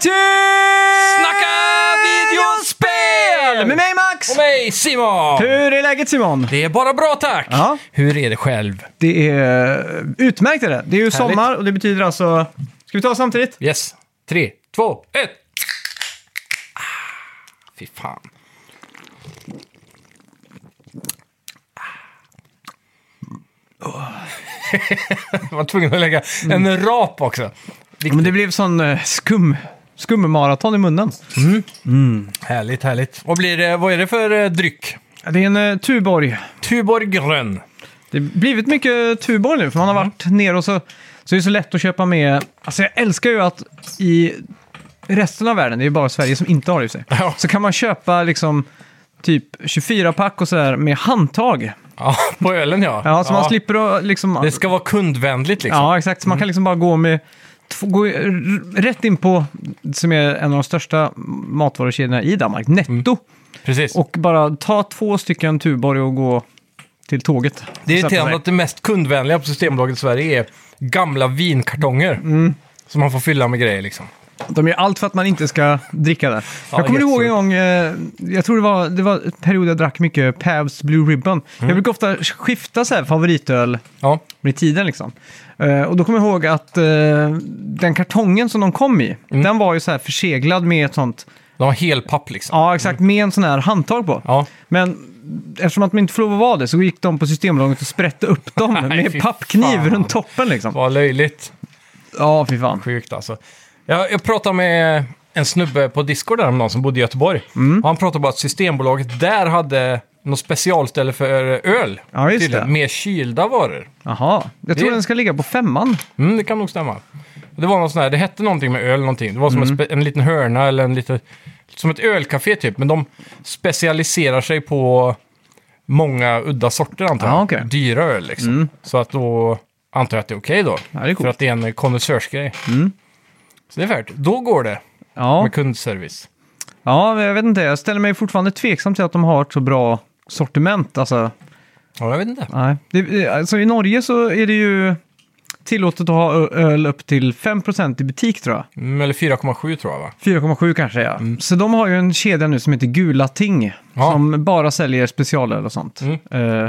till Snacka videospel! Med mig Max! Och mig Simon! Hur är läget Simon? Det är bara bra tack! Ja. Hur är det själv? Det är eh, utmärkt är det. Det är ju sommar och det betyder alltså... Ska vi ta samtidigt? Yes. Tre, två, ett! Ah, Fy fan. Jag Ah. var tvungen att lägga Mm. en rap också. Men det blev sån eh, skum, skummaraton i munnen. Härligt, härligt. Och blir det, vad är det för eh, dryck? Det är en eh, Tuborg. Tuborg grön. Det har blivit mycket Tuborg nu, för man har varit ner och så, så är det så lätt att köpa med... Alltså jag älskar ju att i resten av världen, det är ju bara Sverige som inte har det i sig, Ja. så kan man köpa liksom typ 24-pack och sådär med handtag. Ja, på ölen ja. Ja, så man slipper att liksom... Det ska vara kundvänligt liksom. Ja, exakt. Så man kan liksom bara gå med... två- Gå r- rätt in på, som är en av de största matvarukedjorna i Danmark, Mm. Netto. Precis. Och bara ta två stycken Tuborg och gå till tåget. Det är Sätta sig. irriterande att det mest kundvänliga på Systembolaget i Sverige är gamla vinkartonger. Mm. Som man får fylla med grejer liksom. De gör allt för att man inte ska dricka det. jag kommer helt ihåg en sjukt. gång, eh, jag tror det var, det var en period jag drack mycket Pabst Blue Ribbon. Mm. Jag brukar ofta skifta så här favoritöl Ja, med tiden liksom. Eh, och då kommer jag ihåg att eh, den kartongen som de kom i, Mm. den var ju så här förseglad med ett sånt, de har helpapp liksom. ja exakt, med en sån här handtag på. Ja, Men eftersom att man inte får lov att vara det så gick de på Systembolaget och sprätte upp dem Nej, fy med pappkniv fan. runt toppen liksom. vad löjligt. Ja, fy fan. Sjukt alltså. Jag, jag pratade med en snubbe på Discord där om någon som bodde i Göteborg. Mm. Och han pratade bara att Systembolaget där hade något specialställe för öl. Ja, just tydligen, det. Med kylda varor. Jaha, jag tror Det- den ska ligga på femman. Mm, det kan nog stämma. Det var någon sån här, det hette någonting med öl någonting. Det var Mm. som en, spe, en liten hörna eller en liten... Som ett ölcafé typ, men de specialiserar sig på många udda sorter antar jag. Ja, Ah, okej. Mm. Dyra öl liksom. Så att då antar jag att det är okej då. Ja, det är för coolt. Mm. att det är en kondensörsgrej. Så det är färdigt. Då går det Ja. med kundservice. Ja, men jag vet inte. Jag ställer mig fortfarande tveksam till att de har ett så bra sortiment. Alltså, Ja, jag vet inte. nej. Det- Det, alltså, I Norge så är det ju tillåtet att ha ö- öl upp till 5% i butik tror jag. Mm, eller 4,7 tror jag va? 4,7 kanske ja. Så de har ju en kedja nu som heter Gula Ting. Ja. Som bara säljer specialöl och sånt. Eh,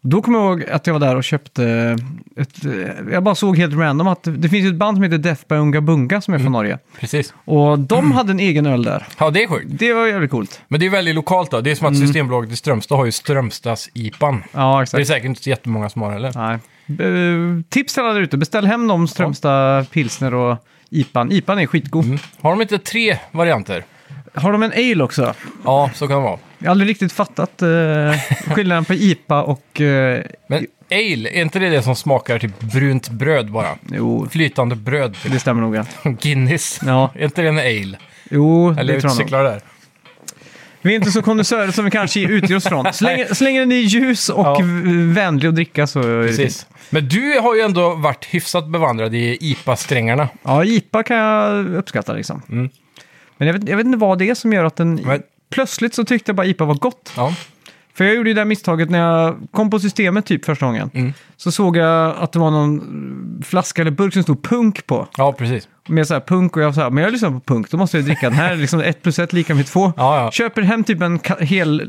då kommer jag ihåg att jag var där och köpte ett, eh, jag bara såg helt random att det, det finns ju ett band som heter Death by Unga Bunga som är från Norge. Precis. Och de hade en egen öl där. Ja, det är sjukt. Det var jävligt coolt. Men det är väldigt lokalt då. Det är som Mm. att Systembolaget i Strömstad har ju Strömstads-IPan. Ja, Det är exakt. säkert inte så jättemånga som har heller. Nej. Eh, Tips till alla där ute, beställ hem de Strömstad pilsner och IPan. IPan är skitgod. Mm. Har de inte tre varianter? Har de en ale också? Ja, så kan det vara. Jag har aldrig riktigt fattat eh, skillnaden på IPA och... eh, Men ale, är inte det det som smakar typ brunt bröd bara? jo, Flytande bröd, det stämmer nog. Ja. typ. Guinness. Ja. Är inte det en ale? Jo, Eller det ute tror jag och nog. cyklar där? Vi är inte så kondensörer som vi kanske utger oss från. Så länge, så länge den är ljus och Ja. v- vänlig att dricka så är det fint. Precis. Men du har ju ändå varit hyfsat bevandrad i IPA-strängarna. Ja, IPA kan jag uppskatta liksom. Men jag vet, jag vet inte vad det är som gör att den... Mm. Men- Plötsligt så tyckte jag bara IPA var gott. Ja. För jag gjorde ju det här misstaget när jag kom på systemet typ första gången. Mm. Så såg jag att det var någon flaska eller burk som stod punk på. ja, precis. Med så här punk och jag sa, men jag lyssnar på punk, då måste jag ju dricka den här. liksom ett plus ett lika med två. Ja, ja. Köper hem typ en ka- hel,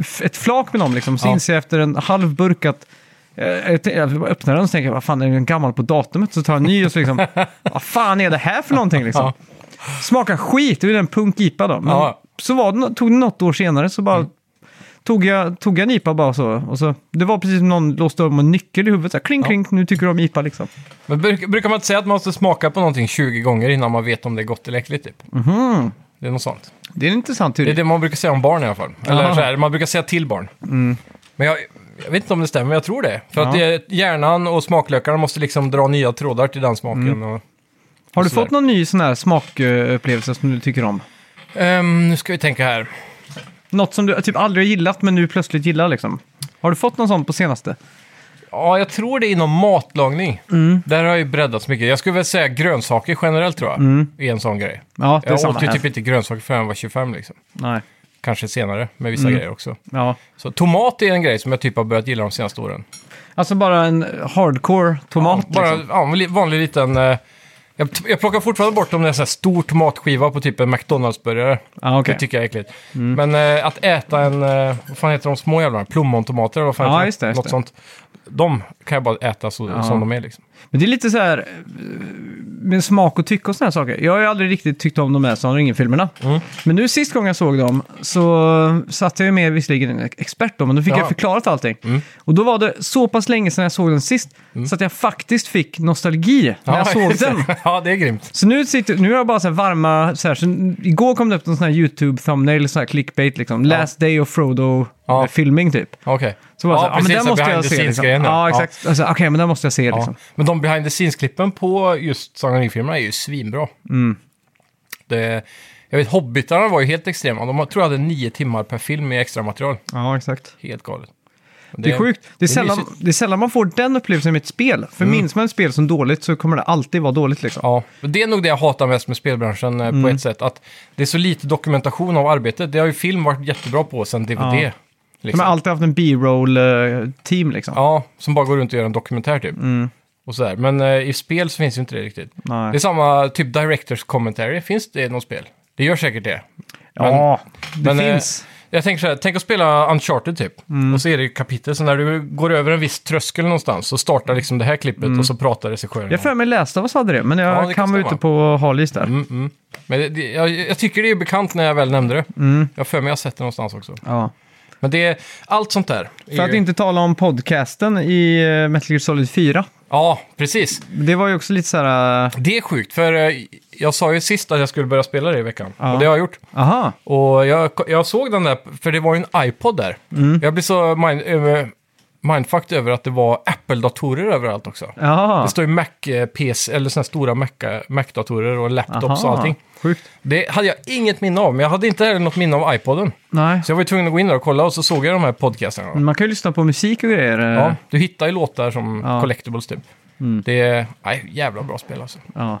f- ett flak med dem liksom. Så Ja. inser jag efter en halv burk att eh, jag t- jag bara öppnar den och så tänker jag, vad fan är den gammal på datumet? Så tar jag en ny och så liksom, vad fan är det här för någonting liksom? Ja. Smakar skit, det är ju en punk-IPA då. Men Ja. så var det, nå- tog det något år senare så bara tog, jag, tog jag en IPA bara så, och så. Det var precis som någon låste om en nyckel i huvudet. Så här, kling, kling, nu tycker du om IPA liksom. Men bruk, brukar man inte säga att man måste smaka på någonting 20 gånger innan man vet om det är gott eller äckligt? Typ? Mhm. Det är något sånt. Det är en intressant teori. Det är det man brukar säga om barn i alla fall. Eller Aha. Mm. så här, man brukar säga till barn. Men jag, jag vet inte om det stämmer, men jag tror det. För att Ja. det, hjärnan och smaklökarna måste liksom dra nya trådar till den smaken. Mm. Och, Har du sådär. fått någon ny sån här smakupplevelse som du tycker om? Ehm, nu ska vi tänka här. Något som du typ aldrig har gillat men nu plötsligt gillar liksom? Har du fått någon sån på senaste? Ja, jag tror det är inom matlagning. Mm. Där har jag ju breddats mycket. Jag skulle väl säga grönsaker generellt tror jag. är en sån grej. Ja, Mm. det är jag samma åt ju här. typ inte grönsaker förrän jag var 25 liksom. Nej. Kanske senare med Mm. vissa grejer också. Ja. Så tomat är en grej som jag typ har börjat gilla de senaste åren. Alltså bara en hardcore tomat Ja, bara liksom. ja, en li- vanlig liten eh, Jag, jag plockar fortfarande bort om det är så här stor tomatskiva på typ en McDonalds-burgare. Ja, Mm. okej. Det tycker jag är äckligt. Men eh, att äta en, eh, vad fan heter de små jävlarna? Plommontomater eller vad fan Ja, heter det? just det, just Något det. sånt. De kan jag bara äta så, Ja. som de är liksom. Men det är lite så här eh, med smak och tycke och såna här saker. Jag har ju aldrig riktigt tyckt om de här Sagan om ringen-filmerna. Mm. Men nu sist gången jag såg dem så satt jag ju med visserligen en expert då, men då fick Ja. jag förklarat allting. Mm. Och då var det så pass länge sedan jag såg den sist så att jag faktiskt fick nostalgi när jag såg den. ja, det är grymt. Så nu, sitter, nu har jag bara så här varma, så här, så igår kom det upp en sån här YouTube-thumbnail, så här clickbait liksom. Last day of Ja. Frodo-filmning typ. Okej. Så bara ja, så här, precis. men så den måste behind jag the se. Liksom. scenes-grejen, Ja, exakt. Alltså, Okej, men den måste jag se Ja. liksom. Men de behind the scenes-klippen på just Sagan om ringen-filmerna är ju svinbra. Mm. Det, jag vet, Hobbitarna var ju helt extrema. De tror jag hade nio timmar per film i extra material. Ja, exakt. Helt galet. Men Det är sjukt. Det är, det är sällan, mysigt. Mm. det är sällan man får den upplevelsen med ett spel. För minns man ett spel som dåligt så kommer det alltid vara dåligt liksom. Ja, och det är nog det jag hatar mest med spelbranschen eh, Mm. på ett sätt. Att det är så lite dokumentation av arbetet. Det har ju film varit jättebra på sen DVD. Ja. De Liksom. har alltid haft en B-roll-team liksom. Ja, som bara går runt och gör en dokumentär typ. Och sådär. Men eh, i spel så finns ju inte det riktigt. Mm. Nej. Det är samma typ Directors Commentary. Finns det i något spel? Det gör säkert det. ja, det men, eh, finns. Jag tänker så här, tänk att spela Uncharted typ. Mm. Och så är det ju kapitel, så när du går över en viss tröskel någonstans så startar liksom det här klippet Mm. och så pratar regissören. jag om- för mig läste vad hade det, men jag Ja, det kan kan vara stämma. ute på halis där. Mm, mm. Men det, det, jag, jag tycker det är bekant när jag väl nämnde det. Mm. Jag har för mig jag har sett det någonstans också. Ja. Men det är allt sånt där. är För att ju- inte tala om podcasten i eh, Metal Gear Solid 4. Ja, precis. Det var ju också lite så här... eh, Det är sjukt, för eh, jag sa ju sist att jag skulle börja spela det i veckan. Ja. Och det har jag gjort. aha, Och jag, jag såg den där, för det var ju en iPod där. Mm. Jag blev så mind, eh, mindfucked över att det var Apple-datorer överallt också. jaha. Det står ju Mac-PC, eller sådana stora Mac- eh, Mac-datorer och laptops och Aha. allting. Sjukt. Det hade jag inget minne av, men jag hade inte heller något minne av iPoden. Nej. Så jag var ju tvungen att gå in där och kolla och så såg jag de här podcasterna. Men Man kan ju lyssna på musik och grejer. eh, Ja, du hittar ju låtar som Ja. collectibles typ. Det är nej, jävla bra spel alltså. ja.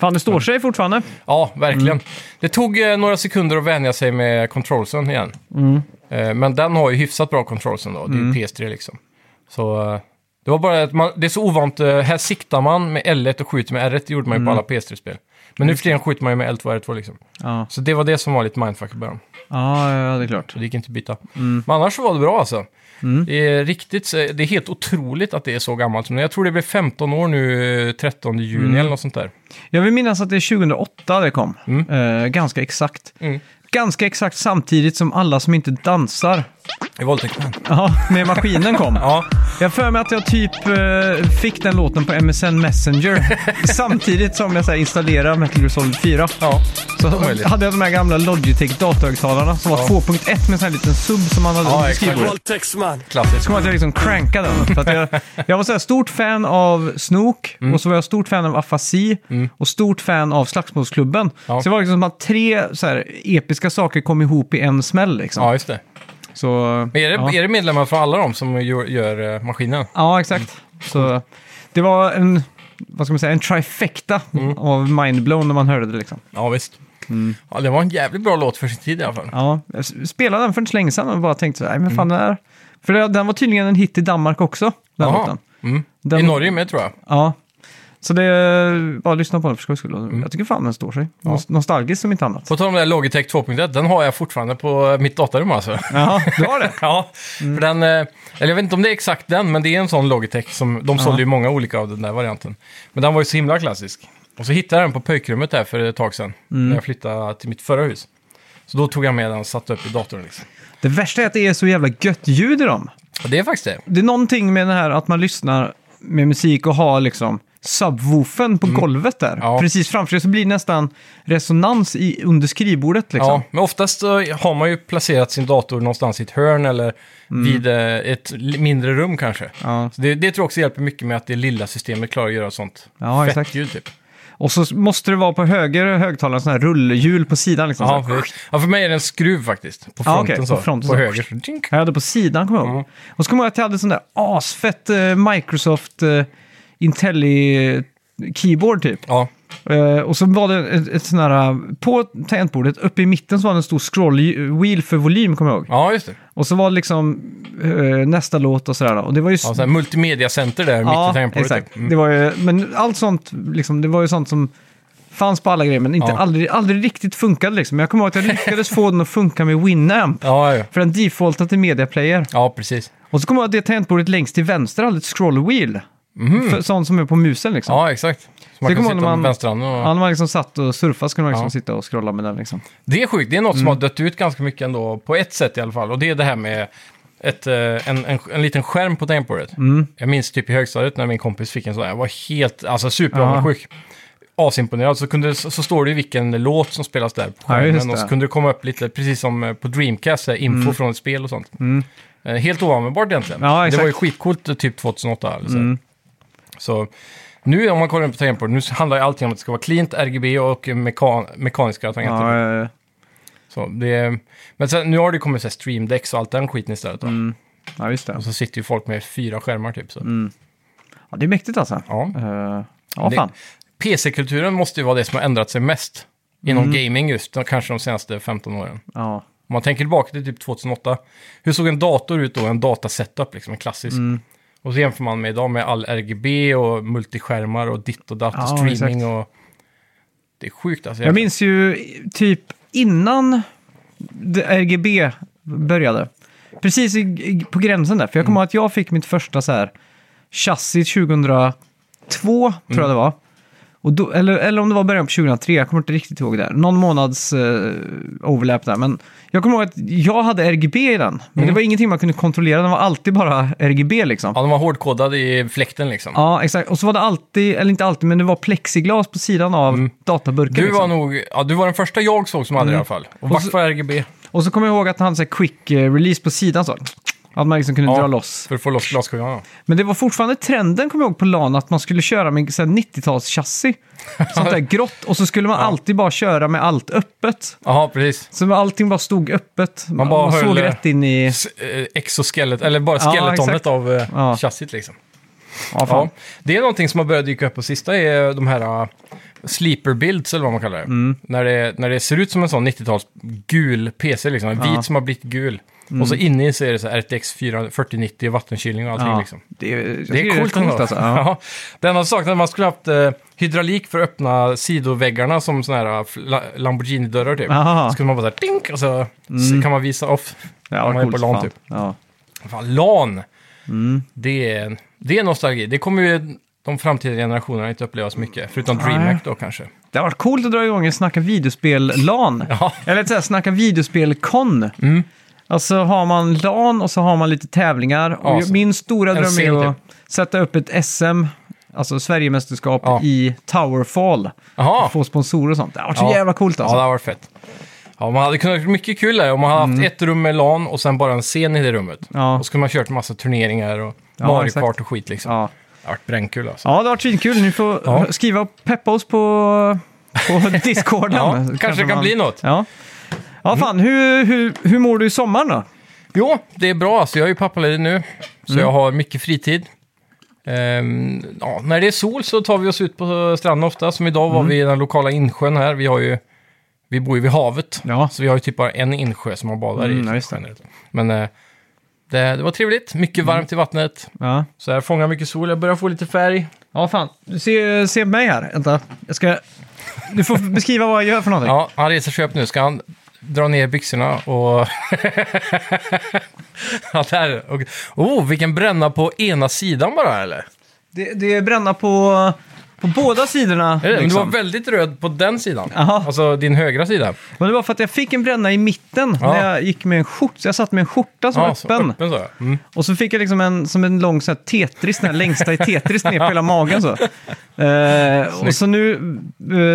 Fan, det står sig fortfarande. Ja, verkligen. Det tog eh, några sekunder att vänja sig med controlsen igen. Eh, men den har ju hyfsat bra controlsen då. Det är ju PS3 liksom. Så eh, det var bara att man, det är så ovant. eh, här siktar man med L1 och skjuter med R1. Det gjorde man ju på alla PS3-spel. Men nu för tiden skjuter man ju med L2 och R2 liksom. Ja. Så det var det som var lite mindfuck i början. Ja, ja, det är klart. Så det gick inte att byta. Men annars så var det bra alltså. Det, är riktigt, så- det är helt otroligt att det är så gammalt. Men jag tror det blev 15 år nu, eh, 13 juni eller något sånt där. Jag vill minnas att det är 2008 det kom. Mm. Eh, ganska exakt. Mm. Ganska exakt samtidigt som alla som inte dansar I våldtäkten. ja, med maskinen kom. Ja, Jag har för mig att jag typ eh, fick den låten på MSN Messenger samtidigt som jag så här, installerade Metal Gear Solid 4. ja. Så Omöjligt. hade jag de här gamla Logitech datahögtalarna som var Ja. 2.1 med en liten sub som man hade Ja, under exakt. skrivbordet. Våldtäkts man. klassiskt. Så kom jag att jag liksom crankade den. För att jag, jag var så här stort fan av Snook Mm. och så var jag stort fan av Afasi och stort fan av Slagsmålsklubben. Ja. Så det var liksom som att tre så här episka saker kom ihop i en smäll liksom. Ja, just det. Så, Men är det, ja. är det medlemmar från alla de som gör, gör eh, maskinen? ja, exakt. Så det var en, vad ska man säga, en trifecta Mm. av mindblown när man hörde det liksom. Ja, visst. Ja, det var en jävligt bra låt för sin tid i alla fall. Ja, jag s- spelade den för inte så länge sedan och bara tänkte så här, "Nej, men fan det här. För det- den var tydligen en hit i Danmark också, den Mm. Jaha. låten. Mm. Den- I Norge med tror jag. Ja. Så det bara lyssna på den för skojs skull. Mm. Jag tycker fan den står sig. Ja. Nostalgisk som inte annat. På tal om det här Logitech 2.1, den har jag fortfarande på eh, mitt datarum alltså. Ja, du har det? Ja, för den, eh, eller jag vet inte om det är exakt den, men det är en sån Logitech. Som, de sålde ju många olika av den där varianten. Men den var ju så himla klassisk. Och så hittade jag den på pojkrummet där för ett tag sedan, Mm. när jag flyttade till mitt förra hus. Så då tog jag med den och satte upp i datorn. Liksom. Det värsta är att det är så jävla gött ljud i dem. Och det är faktiskt det. Det är någonting med det här att man lyssnar med musik och har liksom subwoofen på golvet där. Mm. Ja. Precis framför sig så blir det nästan resonans i, under skrivbordet liksom. Ja, men oftast så har man ju placerat sin dator någonstans i ett hörn eller Mm. vid eh, ett li- mindre rum kanske. Ja. Så det, det tror jag också hjälper mycket med att det lilla systemet klarar att göra sånt Ja, fett exakt. ljud typ. Och så måste det vara på höger högtalare sån här rullhjul på sidan liksom. Ja, Så här. för, ja, för mig är det en skruv faktiskt. På fronten Ja, okej, så. på fronten på så. höger. så, dink. Jag hade på sidan, kommer jag Mm. ihåg. Och så kommer jag ihåg att jag hade sån där asfett eh, Microsoft eh, Intelli-keyboard eh, typ. Ja, Eh, och så var det ett, ett sån här, eh, på tangentbordet, uppe i mitten så var det en stor scroll wheel för volym, kommer jag ihåg. Ja, just det. Och så var det liksom eh, nästa låt och sådär. då. Och det var ju... Ja, så här multimediacenter där mitt i tangentbordet. exakt. typ. Mm. Det var ju, men allt sånt, liksom, det var ju sånt som fanns på alla grejer, men inte Ja. aldrig, aldrig riktigt funkade liksom. Men jag kommer ihåg att jag lyckades få den att funka med Winamp. Ja, ja. För den defaultade till Media Player. ja, precis. Och så kommer jag ihåg att det tangentbordet längst till vänster hade ett scroll wheel. För, sånt som är på musen liksom. Mhm. Ja, exakt. Så man Det kan kommer sitta när man- med vänsterhanden och... Ja, när man liksom satt och surfade så kunde man liksom Ja. sitta och scrolla med den liksom. Det är sjukt, det är något Mm. som har dött ut ganska mycket ändå, på ett sätt i alla fall. Och det är det här med ett, eh, en, en, en liten skärm på tangentbordet. Mm. Jag minns typ i högstadiet när min kompis fick en sån här. Jag var helt, alltså superavundsjuk. Asimponerad. Så, kunde, så, så står det ju vilken låt som spelas där på Ja, skärmen. just och det. Mm. så kunde det komma upp lite, precis som eh, på Dreamcast, så här, info från ett spel och sånt. Eh, Helt oanvändbart egentligen. Ja, det exakt. Mm. var ju skitcoolt eh, typ 2008. Eller så. så nu om man kollar in på tangentbordet, nu handlar ju allting om att det ska vara cleant, RGB och mekan, mekaniska tangenter. Ja, eh, Så det, men sen, nu har det kommit så här streamdecks och allt den skiten istället. Mm. Då. ja, visst det. Och så sitter ju folk med fyra skärmar typ. Så. Mm. Ja, det är mäktigt alltså. Ja. Eh, ja, Det- fan. PC-kulturen måste ju vara det som har ändrat sig mest inom Mm. gaming just, de- kanske de senaste 15 åren. Ja. Om man tänker tillbaka till typ 2008, hur såg en dator ut då? En datasetup, liksom en klassisk. Mm. Och så jämför man med idag med all RGB och multiskärmar och ditt och datt och Ja, streaming exakt. och... Det är sjukt alltså. Jag minns ju typ innan det- RGB började. Precis i, i, på gränsen där. För jag Mm. kommer ihåg att jag fick mitt första så här chassi 2002, tror Mm. jag det var. Och då, eller, eller om det var början på 2003, jag kommer inte riktigt ihåg där. Någon månads eh, overlap där. Men jag kommer ihåg att jag hade RGB i den. Men det var ingenting man kunde kontrollera, den var alltid bara RGB liksom. Mm. Ja, de var hårdkodade i fläkten liksom. Ja, exakt. Och så var det alltid, eller inte alltid, men det var plexiglas på sidan av databurken. Mm. Du liksom. Mm. var nog, ja du var den första jag såg som hade det i alla fall. Och vart var RGB? Och så kommer jag ihåg att han hade quick eh, release på sidan så. Att man liksom kunde Ja. dra loss. För att få loss glaskulan ja. Men det var fortfarande trenden, kommer jag ihåg, på LAN att man skulle köra med så här 90-talschassi. Sånt där grått. Och så skulle man alltid bara köra med allt öppet. Jaha, precis. Så allting bara stod öppet. Man, bara man såg höll- rätt in i... S- eh, Exoskelet, eller bara Ja, skeletonet exakt. av eh, Ja. chassit liksom. Ja, fan. Ja. Det är någonting som har börjat dyka upp på sista, är de här eh, sleeper builds eller vad man kallar det. När, det när det ser ut som en sån 90-tals gul PC, liksom, en vit som har blivit gul. Och så inne i så är det så här RTX 4 4090 vattenkylning och allting Ja. liksom. Det, är- jag Det tycker är rätt coolt, ändå. alltså. Ja. Ja. Det enda saknade man skulle haft eh, hydraulik för att öppna sidoväggarna som såna här eh, la, Lamborghini-dörrar typ. Aha. Mm. Så skulle man bara såhär dink och så, så kan man visa off. Ja, Om vad man är på coolt, LAN, fan. typ. Ja. Fan, LAN! Mm. Det, är, det är nostalgi. Det kommer ju de framtida generationerna inte uppleva så mycket. Förutom DreamHack då kanske. Det har varit coolt att dra igång en snacka videospel-LAN. Ja. Eller ett sånt här snacka videospel-kon. Mm. Alltså har man LAN och så har man lite tävlingar. Och Awesome. jag- min stora En typ. dröm scen, är att sätta upp ett SM, alltså Sverigemästerskap Ja. i Towerfall. Jaha! Och få sponsorer och sånt. Det har varit så jävla coolt Ja, alltså. det har varit fett. Ja, man hade kunnat gjort mycket kul där om man hade haft ett rum med LAN och sen bara en scen i det rummet. Mm. Ja. Och så kunde man kört massa turneringar och Mario exakt. Kart och skit liksom. Ja. Det har varit brännkul alltså. ja, det har varit svinkul. Ni får Ja. skriva och peppa oss på, på Discorden. Ja, kanske det kan bli något. Ja. Ja, fan. Hur, hur, hur mår du i sommaren då? Jo, det är bra. Alltså, jag är ju pappaledig nu, så Mm. jag har mycket fritid. Ehm, ja, när det är sol så tar vi oss ut på stranden ofta. Som idag Mm. var vi i den lokala insjön här. Vi, har ju, vi bor ju vid havet, Ja. så vi har ju typ bara en insjö som man badar Mm, ja, i. just det. generellt. Men eh, det, det var trevligt. Mycket varmt i vattnet. Ja. Så jag fångar mycket sol. Jag börjar få lite färg. Ja, fan. Du ser, ser mig här. Vänta, jag ska... Du får beskriva vad jag gör för någonting. Ja, han reser sig upp nu. Ska han dra ner byxorna och... ja, där. Och, oh, vilken bränna på ena sidan bara, eller? Det, det är bränna på, på båda sidorna. Är det? Men du liksom. var väldigt röd på den sidan. Jaha. Alltså din högra sida. Men det var för att jag fick en bränna i mitten Ja. när jag gick med en skjorta. Så Jag satt med en skjorta som var Ja, så öppen. öppen så. ja. Mm. Och så fick jag liksom en, som en lång så här, tetris, den här längsta i tetris ner på hela magen. Så. Eh, och så nu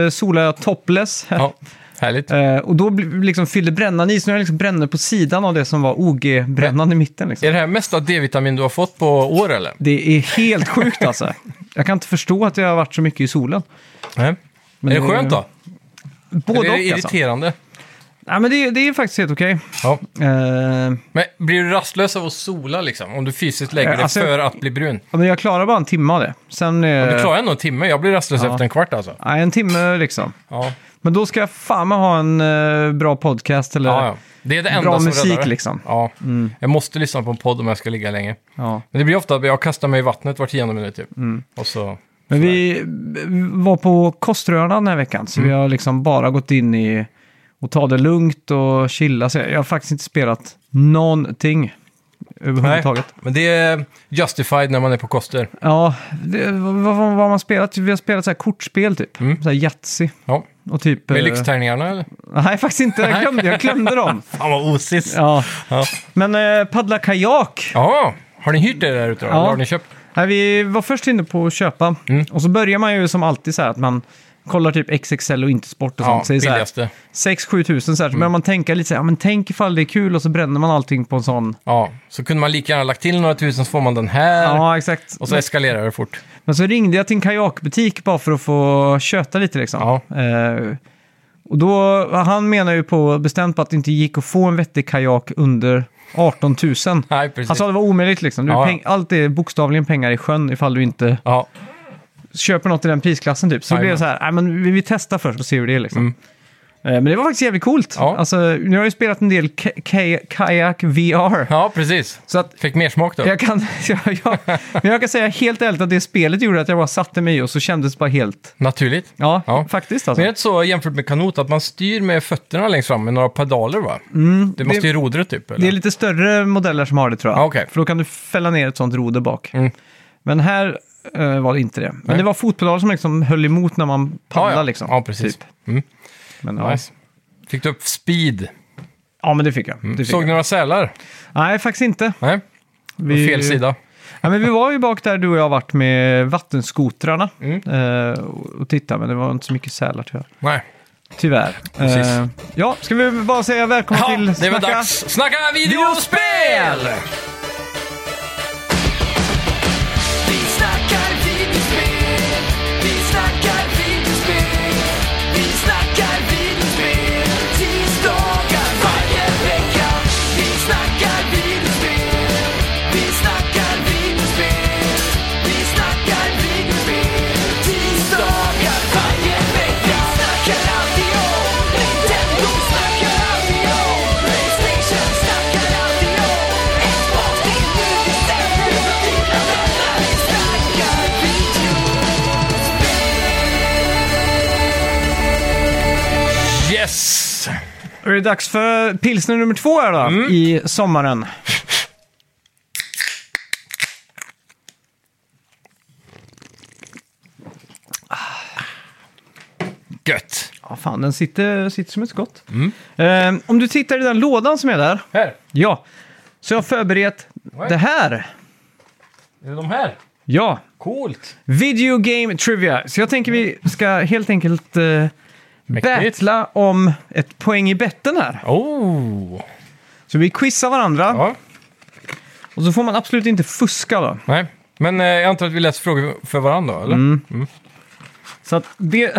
eh, solar jag topless. Ja, härligt. Eh, och då bli- liksom fyllde brännan i, så nu har jag liksom bränner på sidan av det som var OG-brännan i mitten. Liksom. Är det här mesta D-vitamin du har fått på år eller? Det är helt sjukt alltså. Jag kan inte förstå att jag har varit så mycket i solen. Nej. Men är det det- skönt då? Både eller är det och alltså. irriterande? Nej, men det, det är faktiskt helt okej. Ja. Eh, Men blir du rastlös av att sola liksom? Om du fysiskt lägger Eh, dig alltså- för att bli brun? ja, men jag klarar bara en timme av det. Sen... eh, Du klarar ändå en timme. Jag blir rastlös Ja. efter en kvart alltså. nej, en timme liksom. Ja. Men då ska jag fan med ha en eh, bra podcast eller... Ja, ja. Det är det enda Bra som musik, räddar det. liksom. Ja. Jag måste lyssna på en podd om jag ska ligga länge. Ja. Men det blir ofta att jag kastar mig i vattnet var tionde minut typ. Mm. Och så... Men vi var på Koströarna den här veckan, så Mm. vi har liksom bara gått in i och ta det lugnt och chilla. Så jag har faktiskt inte spelat någonting överhuvudtaget. Men det är justified när man är på koster. Ja, det, vad, vad, vad har man spelat? Vi har spelat så här kortspel typ. Så här Yatzy Ja. och typ... Mm. Med eh, lyxtärningarna eller? Nej, faktiskt inte. Jag glömde, jag glömde dem. Fan vad osis. Ja. Ja. Ja. Men eh, paddla kajak. Jaha. Har ni hyrt det där ute då? Ja. Eller har ni köpt? Nej, vi var först inne på att köpa. Mm. Och så börjar man ju som alltid så här att man kollar typ XXL och inte sport och Ja, Mm. sånt. Så det är så här, billigaste. 6-7 tusen så här. Så börjar man tänka lite så här, ja, men tänk ifall det är kul och så bränner man allting på en sån. Ja. Så kunde man lika gärna lagt till några tusen så får man den här. Ja, exakt. Och så eskalerar det fort. Men så ringde jag till en kajakbutik bara för att få köta lite liksom. Eh, och då, han menar ju på bestämt på att det inte gick att få en vettig kajak under 18 000. Nej, precis. Han sa det var omöjligt liksom. Du, Ja, ja. peng, allt är bokstavligen pengar i sjön ifall du inte Ja. köper något i den prisklassen typ. Så det blev Jajamän. så här, nej men vi, vi testar först och ser hur det är liksom. Eh, Men det var faktiskt jävligt coolt. Mm. Ja. Alltså, nu har jag ju spelat en del ka- ka- kajak VR. ja, precis. Så att Fick mer smak då. jag kan, jag, jag, men jag kan säga helt ärligt att det spelet gjorde att jag bara satte mig i och så kändes det bara helt... Naturligt. Ja, Ja. faktiskt alltså. Men det är inte så jämfört med kanot att man styr med fötterna längst fram med några pedaler va? det måste Mm, det- ju rodret typ eller? Det är lite större modeller som har det tror jag. Ja, okej. För då kan du fälla ner ett sånt roder bak. Mm. Men här eh, var det inte det. Men Nej. det var fotpedaler som liksom höll emot när man paddlade ja, ja. liksom. Ja, precis. Typ. Mm. Men, ja. Nice. Fick du upp speed? ja, men det fick jag. Det fick Såg jag. ni några sälar? Nej, faktiskt inte. Nej, Vi- fel sida. Ja, men vi var ju bak där du och jag varit med vattenskotrarna Mm. eh, och tittade, men det var inte så mycket sälar tyvärr. Nej. Tyvärr. Precis. Eh, ja, ska vi bara säga välkomna Ja, till det är väl dags. Snacka videospel! Vi snackar videospel, vi snackar videospel, vi snackar videospel, tisdagar varje vecka. Vi snackar videospel, vi snackar videospel, vi snackar videospel, tisdagar varje vecka. Snackar alltid om Nintendo, snackar alltid om Playstation, snackar alltid om Xbox, det är nu vi sänder dina vänner. Vi snackar videospel. Yes! Då är det dags för pilsner nummer två här då, Mm. i sommaren. Gött! Ja, fan, den sitter, sitter som ett skott. Mm. Eh, om du tittar i den lådan som är där, Här, ja, så jag har förberett det här. är det de här? Ja, Coolt! video game trivia. Så jag tänker vi ska helt enkelt eh, Mäktigt. battla om ett poäng i betten här. Oh! Så vi quizar varandra Ja, och så får man absolut inte fuska då. nej. Men eh, jag antar att vi läser frågor för varandra eller? Så att det,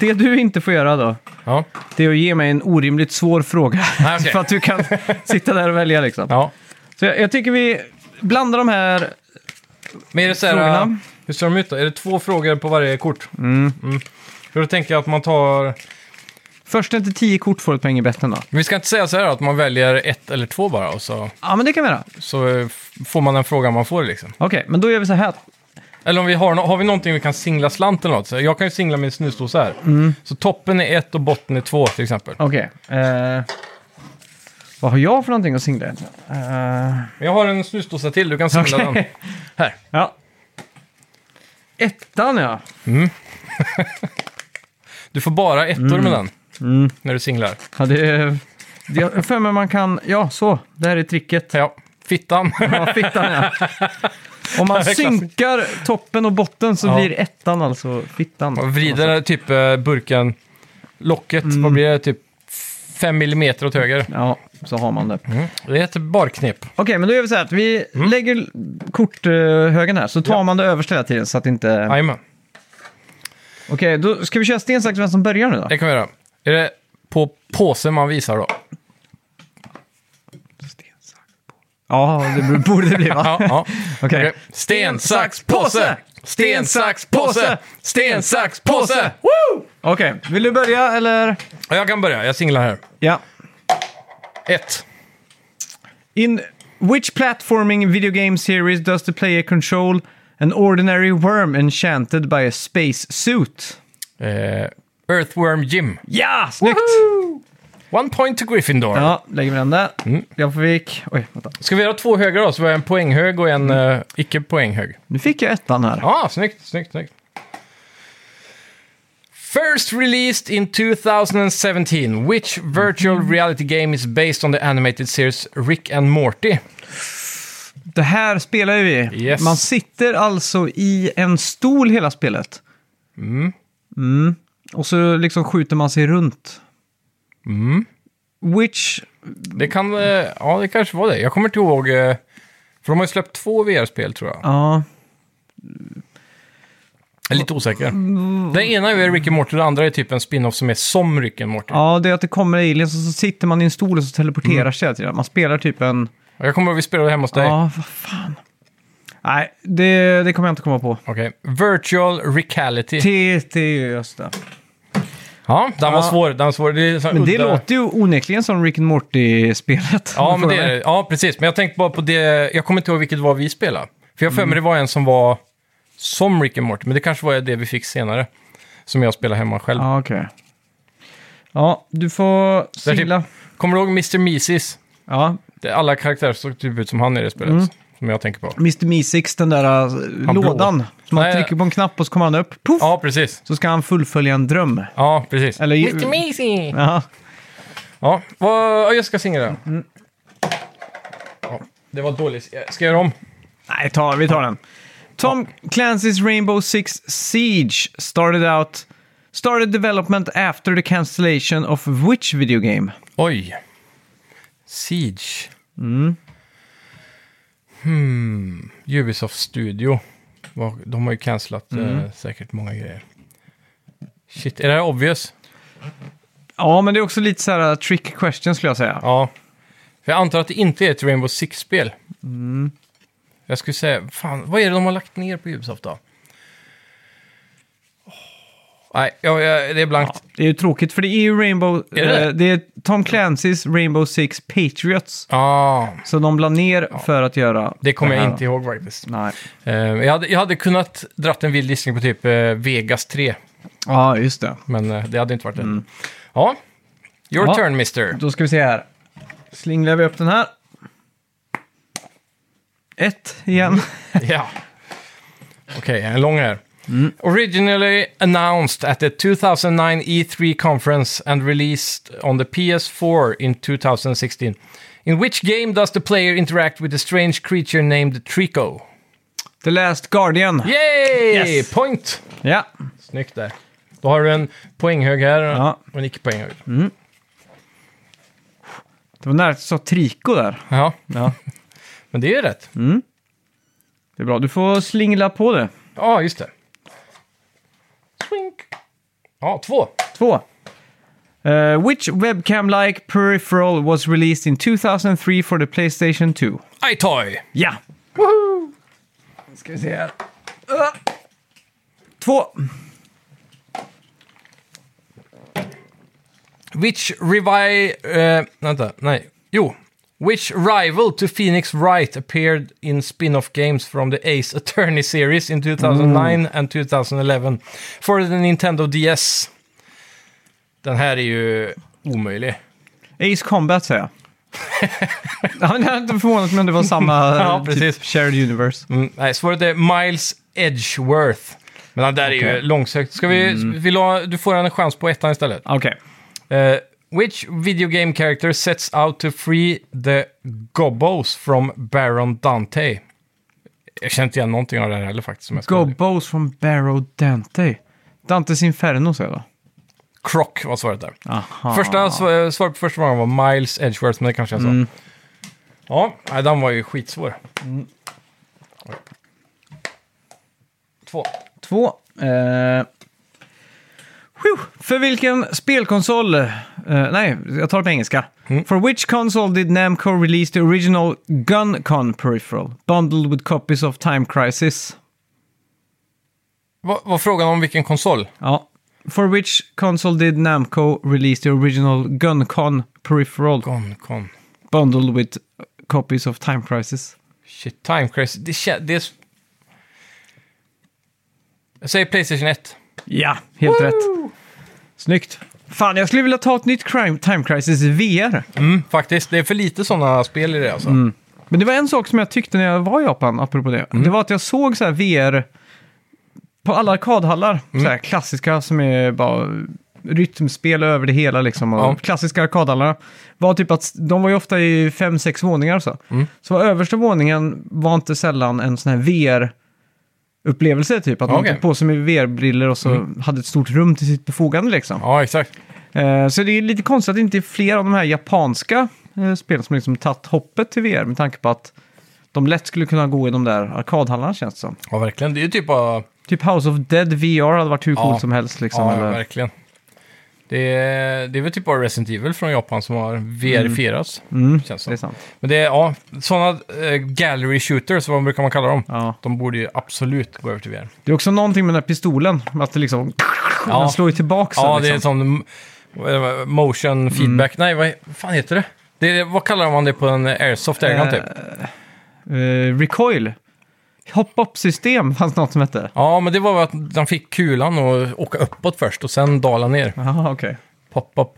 det du inte får göra då, Ja. det är att ge mig en orimligt svår fråga. Nej, Ah, okej. För att du kan sitta där och välja liksom. ja. Så jag, jag tycker vi blandar de här. Men är det så här, eh, Frågorna? hur ser de ut då? Är det två frågor på varje kort? Mm. För då tänker jag att man tar... Första till tio kort får ett poäng i betten då. Vi ska inte säga så här då, att man väljer ett eller två bara och så, Ja, men det kan vi göra. så eh, f- får man den frågan man får liksom. Okej, men då gör vi så här. Eller om vi har, no- har vi någonting vi kan singla slant eller något? Så jag kan ju singla min snusdosa här. Så toppen är ett och botten är två till exempel. Okej. Eh, vad har jag för någonting att singla egentligen? Eh, Men jag har en snusdosa till, du kan singla Okej. den. Här. ja. Ettan ja. Du får bara ettor Mm. med den. När du singlar. ja det, är- det, jag har för mig man kan... Ja, så. Det här är tricket. Ja, fittan. Ja, fittan ja. Om man Det är klassiskt. synkar toppen och botten så Ja. blir ettan alltså fittan. Man vrider Alltså. typ eh, burken, locket, Mm. vad blir det? Typ fem millimeter åt höger. Ja, så har man det. Mm. Det är ett barknep. Okej, men då gör vi så här att vi lägger korthögen här, så tar man det översta hela tiden så att inte... Okej, Jajamän, då ska vi köra sten, sax, vem som börjar nu då? det kan vi göra. Är det på påse man visar då. Sten, sax, påse. Ja, det borde det bli va? Ja, ja. Okej. Okej. Sten, sax, påse! Sten, sax, påse! Sten, sax, påse! Woo! Okej, vill du börja eller? Ja, Jag kan börja, jag singlar här. Ja. Ett. In which platforming video game series does the player control an ordinary worm enchanted by a space suit? Eh, Earthworm Jim. Ja, snyggt! One point to Gryffindor. Ja, lägger vi den där. Jag fick... Oj, vänta. Ska vi göra två höger då? Så vi har en poänghög och en eh, icke-poänghög. Nu fick jag ettan här. Ja, ah, snyggt, snyggt, snyggt. First released in 2017, which virtual Mhm. reality game is based on the animated series Rick and Morty? Det här spelar ju vi. Yes. Man sitter alltså i en stol hela spelet. Mm. Och så liksom skjuter man sig runt. Mm. Which... Det kan, eh, ja det kanske var det. Jag kommer inte ihåg, eh, för de har ju släppt två VR-spel tror jag. Ja, Jag är lite osäker. Mm. Den ena är Rick and Morty, den andra är typ en spin-off som är som Rick and Morty. ja det är att det kommer aliens och så sitter man i en stol och så teleporterar Mm. sig hela tiden. Man spelar typ en... Jag kommer ihåg vi spelade hemma hos dig. Ja, vad fan. Nej, det, det kommer jag inte komma på. Okej, Virtual Recality. TT, just det. ja, den var Ja. svår. Den var svår. Det är så här Men det udda- låter ju onekligen som Rick and Morty-spelet. Ja, men det är, det. ja, precis. Men jag tänkte bara på det. Jag kommer inte ihåg vilket var vi spelade. För jag har för Mm. mig det var en som var som Rick and Morty, men det kanske var det vi fick senare. Som jag spelade hemma själv. Ja, okej. Ja, du får Där typ- sila. Kommer du ihåg Mr. Mises? Ja, Det, alla karaktärer såg typ ut som han i det Mm. spelet. Som jag tänker på. Mr. Meeseeks, den där äh, blå. lådan. Som man Nej. trycker på en knapp och så kommer han upp. Puff! Ja, precis. Så ska han fullfölja en dröm. Ja, precis. Eller... Mr. Mises! Ja. Ja, vad, ja, jag ska singla den. Mm. Ja, det var dåligt. Ska jag göra om? Nej, ta, vi tar den. Tom Clancy's Rainbow Six Siege started out... Started development after the cancellation of which video game? Oj. Siege. Hmm. Ubisoft Studio. Vad- De har ju cancelat eh, säkert många grejer. Shit, är det här obvious? Ja, men det är också lite så här uh, trick question skulle jag säga. Ja. För jag antar att det inte är ett Rainbow Six-spel. Jag skulle säga, fan, vad är det de har lagt ner på Ubisoft då? Åh, Nej, jag, jag, det är blankt. Det är ju tråkigt för det är ju Rainbow... Är det? eh, det är Tom Clancy's Rainbow Six Patriots. Ah, Så de la ner för att göra... det kommer jag här. inte ihåg faktiskt. Nej. Eh, jag, hade, jag hade kunnat dratt en vild gissning på typ eh, Vegas 3. Ja, just det. Men eh, det hade inte varit det. Mm. Ja, your Ja. turn mister. Då ska vi se här. Slingrar vi upp den här. Ett Mm. igen. Ja. Okej, en lång här. Mm. Originally announced at the 2009 E3 E conference and released on the PS4 in 2016. In which game does the player interact with a strange creature named Trico? The Last Guardian. Yay! Yes. Point! Ja. Snyggt där. Då har du en poänghög här Ja. Mm. och en icke-poänghög. Det var nära att du sa Trico där. Ja, Ja. men det är ju rätt. Mm. Ja, Det är bra. Du får slingla på det. just det. Swink. Ja, två. Två. Eh, which webcam-like peripheral was released in 2003 for the Playstation 2? iToy. Ja. Ska vi se här. Ah. Två. Which revi... eh, vänta, nej. Jo. Which rival to Phoenix Wright appeared in spin-off games from the Ace Attorney series in 2009 and 2011 for the Nintendo DS? Den här är ju omöjlig. Ace Combat säger jag. ja, men jag hade inte förvånat mig om det var samma eh, Ja, precis. typ shared universe. Mm, nej, svaret är Miles Edgeworth. Men den där är ju Okej. långsökt. Ska vi... Vill du ha, du får en chans på ettan istället. Okej. Uh, which video game character sets out to free the Gobos from Baron Dante? Jag känner inte igen någonting av det här heller faktiskt. Som jag ska- Gobos från Barrow Dante. Dantes Inferno säger jag Croc var svaret där. då. Aha. Första sv- svaret på första frågan var Miles Edgeworth, men det kanske jag sa. Ja, nej, den var ju skitsvår. Oj. Två. Två. Eh. Whew. För vilken spelkonsol eh, Eh, nej, jag tar det på engelska. For which console did Namco release the original GunCon peripheral? Bundled with copies of Time Crisis. Vad var frågan om vilken konsol? Ja. For which console did Namco release the original GunCon peripheral? Gone, gone. Bundled with copies of Time Crisis. Shit, Time Crisis. Det, kä- det är... s- Jag säger Playstation 1. Ja, helt rätt. Snyggt. Fan, jag skulle vilja ta ett nytt crime, Time Crisis i VR. Mm, faktiskt. Det är för lite sådana spel i det alltså. Mm. Men det var en sak som jag tyckte när jag var i Japan, apropå det. Mm. Det var att jag såg så här VR på alla arkadhallar. Mm. Så här klassiska som är bara rytmspel över det hela liksom. Och Ja. Klassiska arkadhallarna var typ att de var ju ofta i fem, sex våningar och så. Mm. Så var översta våningen var inte sällan en sån här VR upplevelse typ. Att man Okej. Mm. tog på sig med VR-briller och så hade ett stort rum till sitt befogande liksom. Ja, exakt. Eh, Så det är lite konstigt att det inte är fler av de här japanska eh, spelen som liksom tagit hoppet till VR med tanke på att de lätt skulle kunna gå i de där arkadhallarna känns det som. Ja, verkligen. Det är ju typ bara... Typ House of Dead VR hade varit hur Ja. coolt som helst liksom. ja, eller... verkligen. Det är, det är väl typ bara Resident Evil från Japan som har verifierats. Mm, Känns det är som. sant. Men det är, ja, sådana eh, gallery shooters, vad brukar man kalla dem? Ja. De borde ju absolut gå över till VR. Det är också någonting med den här pistolen, att det liksom... Ja. Den slår ju tillbaka sen, Ja, det är liksom. Mm. som eh, motion feedback. Nej, vad, vad fan heter det? det? är- Vad kallar man det på en airsoft airgun typ? Eh, recoil. Hop-up-system fanns något som hette. Ja, men det var väl att den fick kulan och åka uppåt först och sen dala ner. Aha, okay. Pop-up.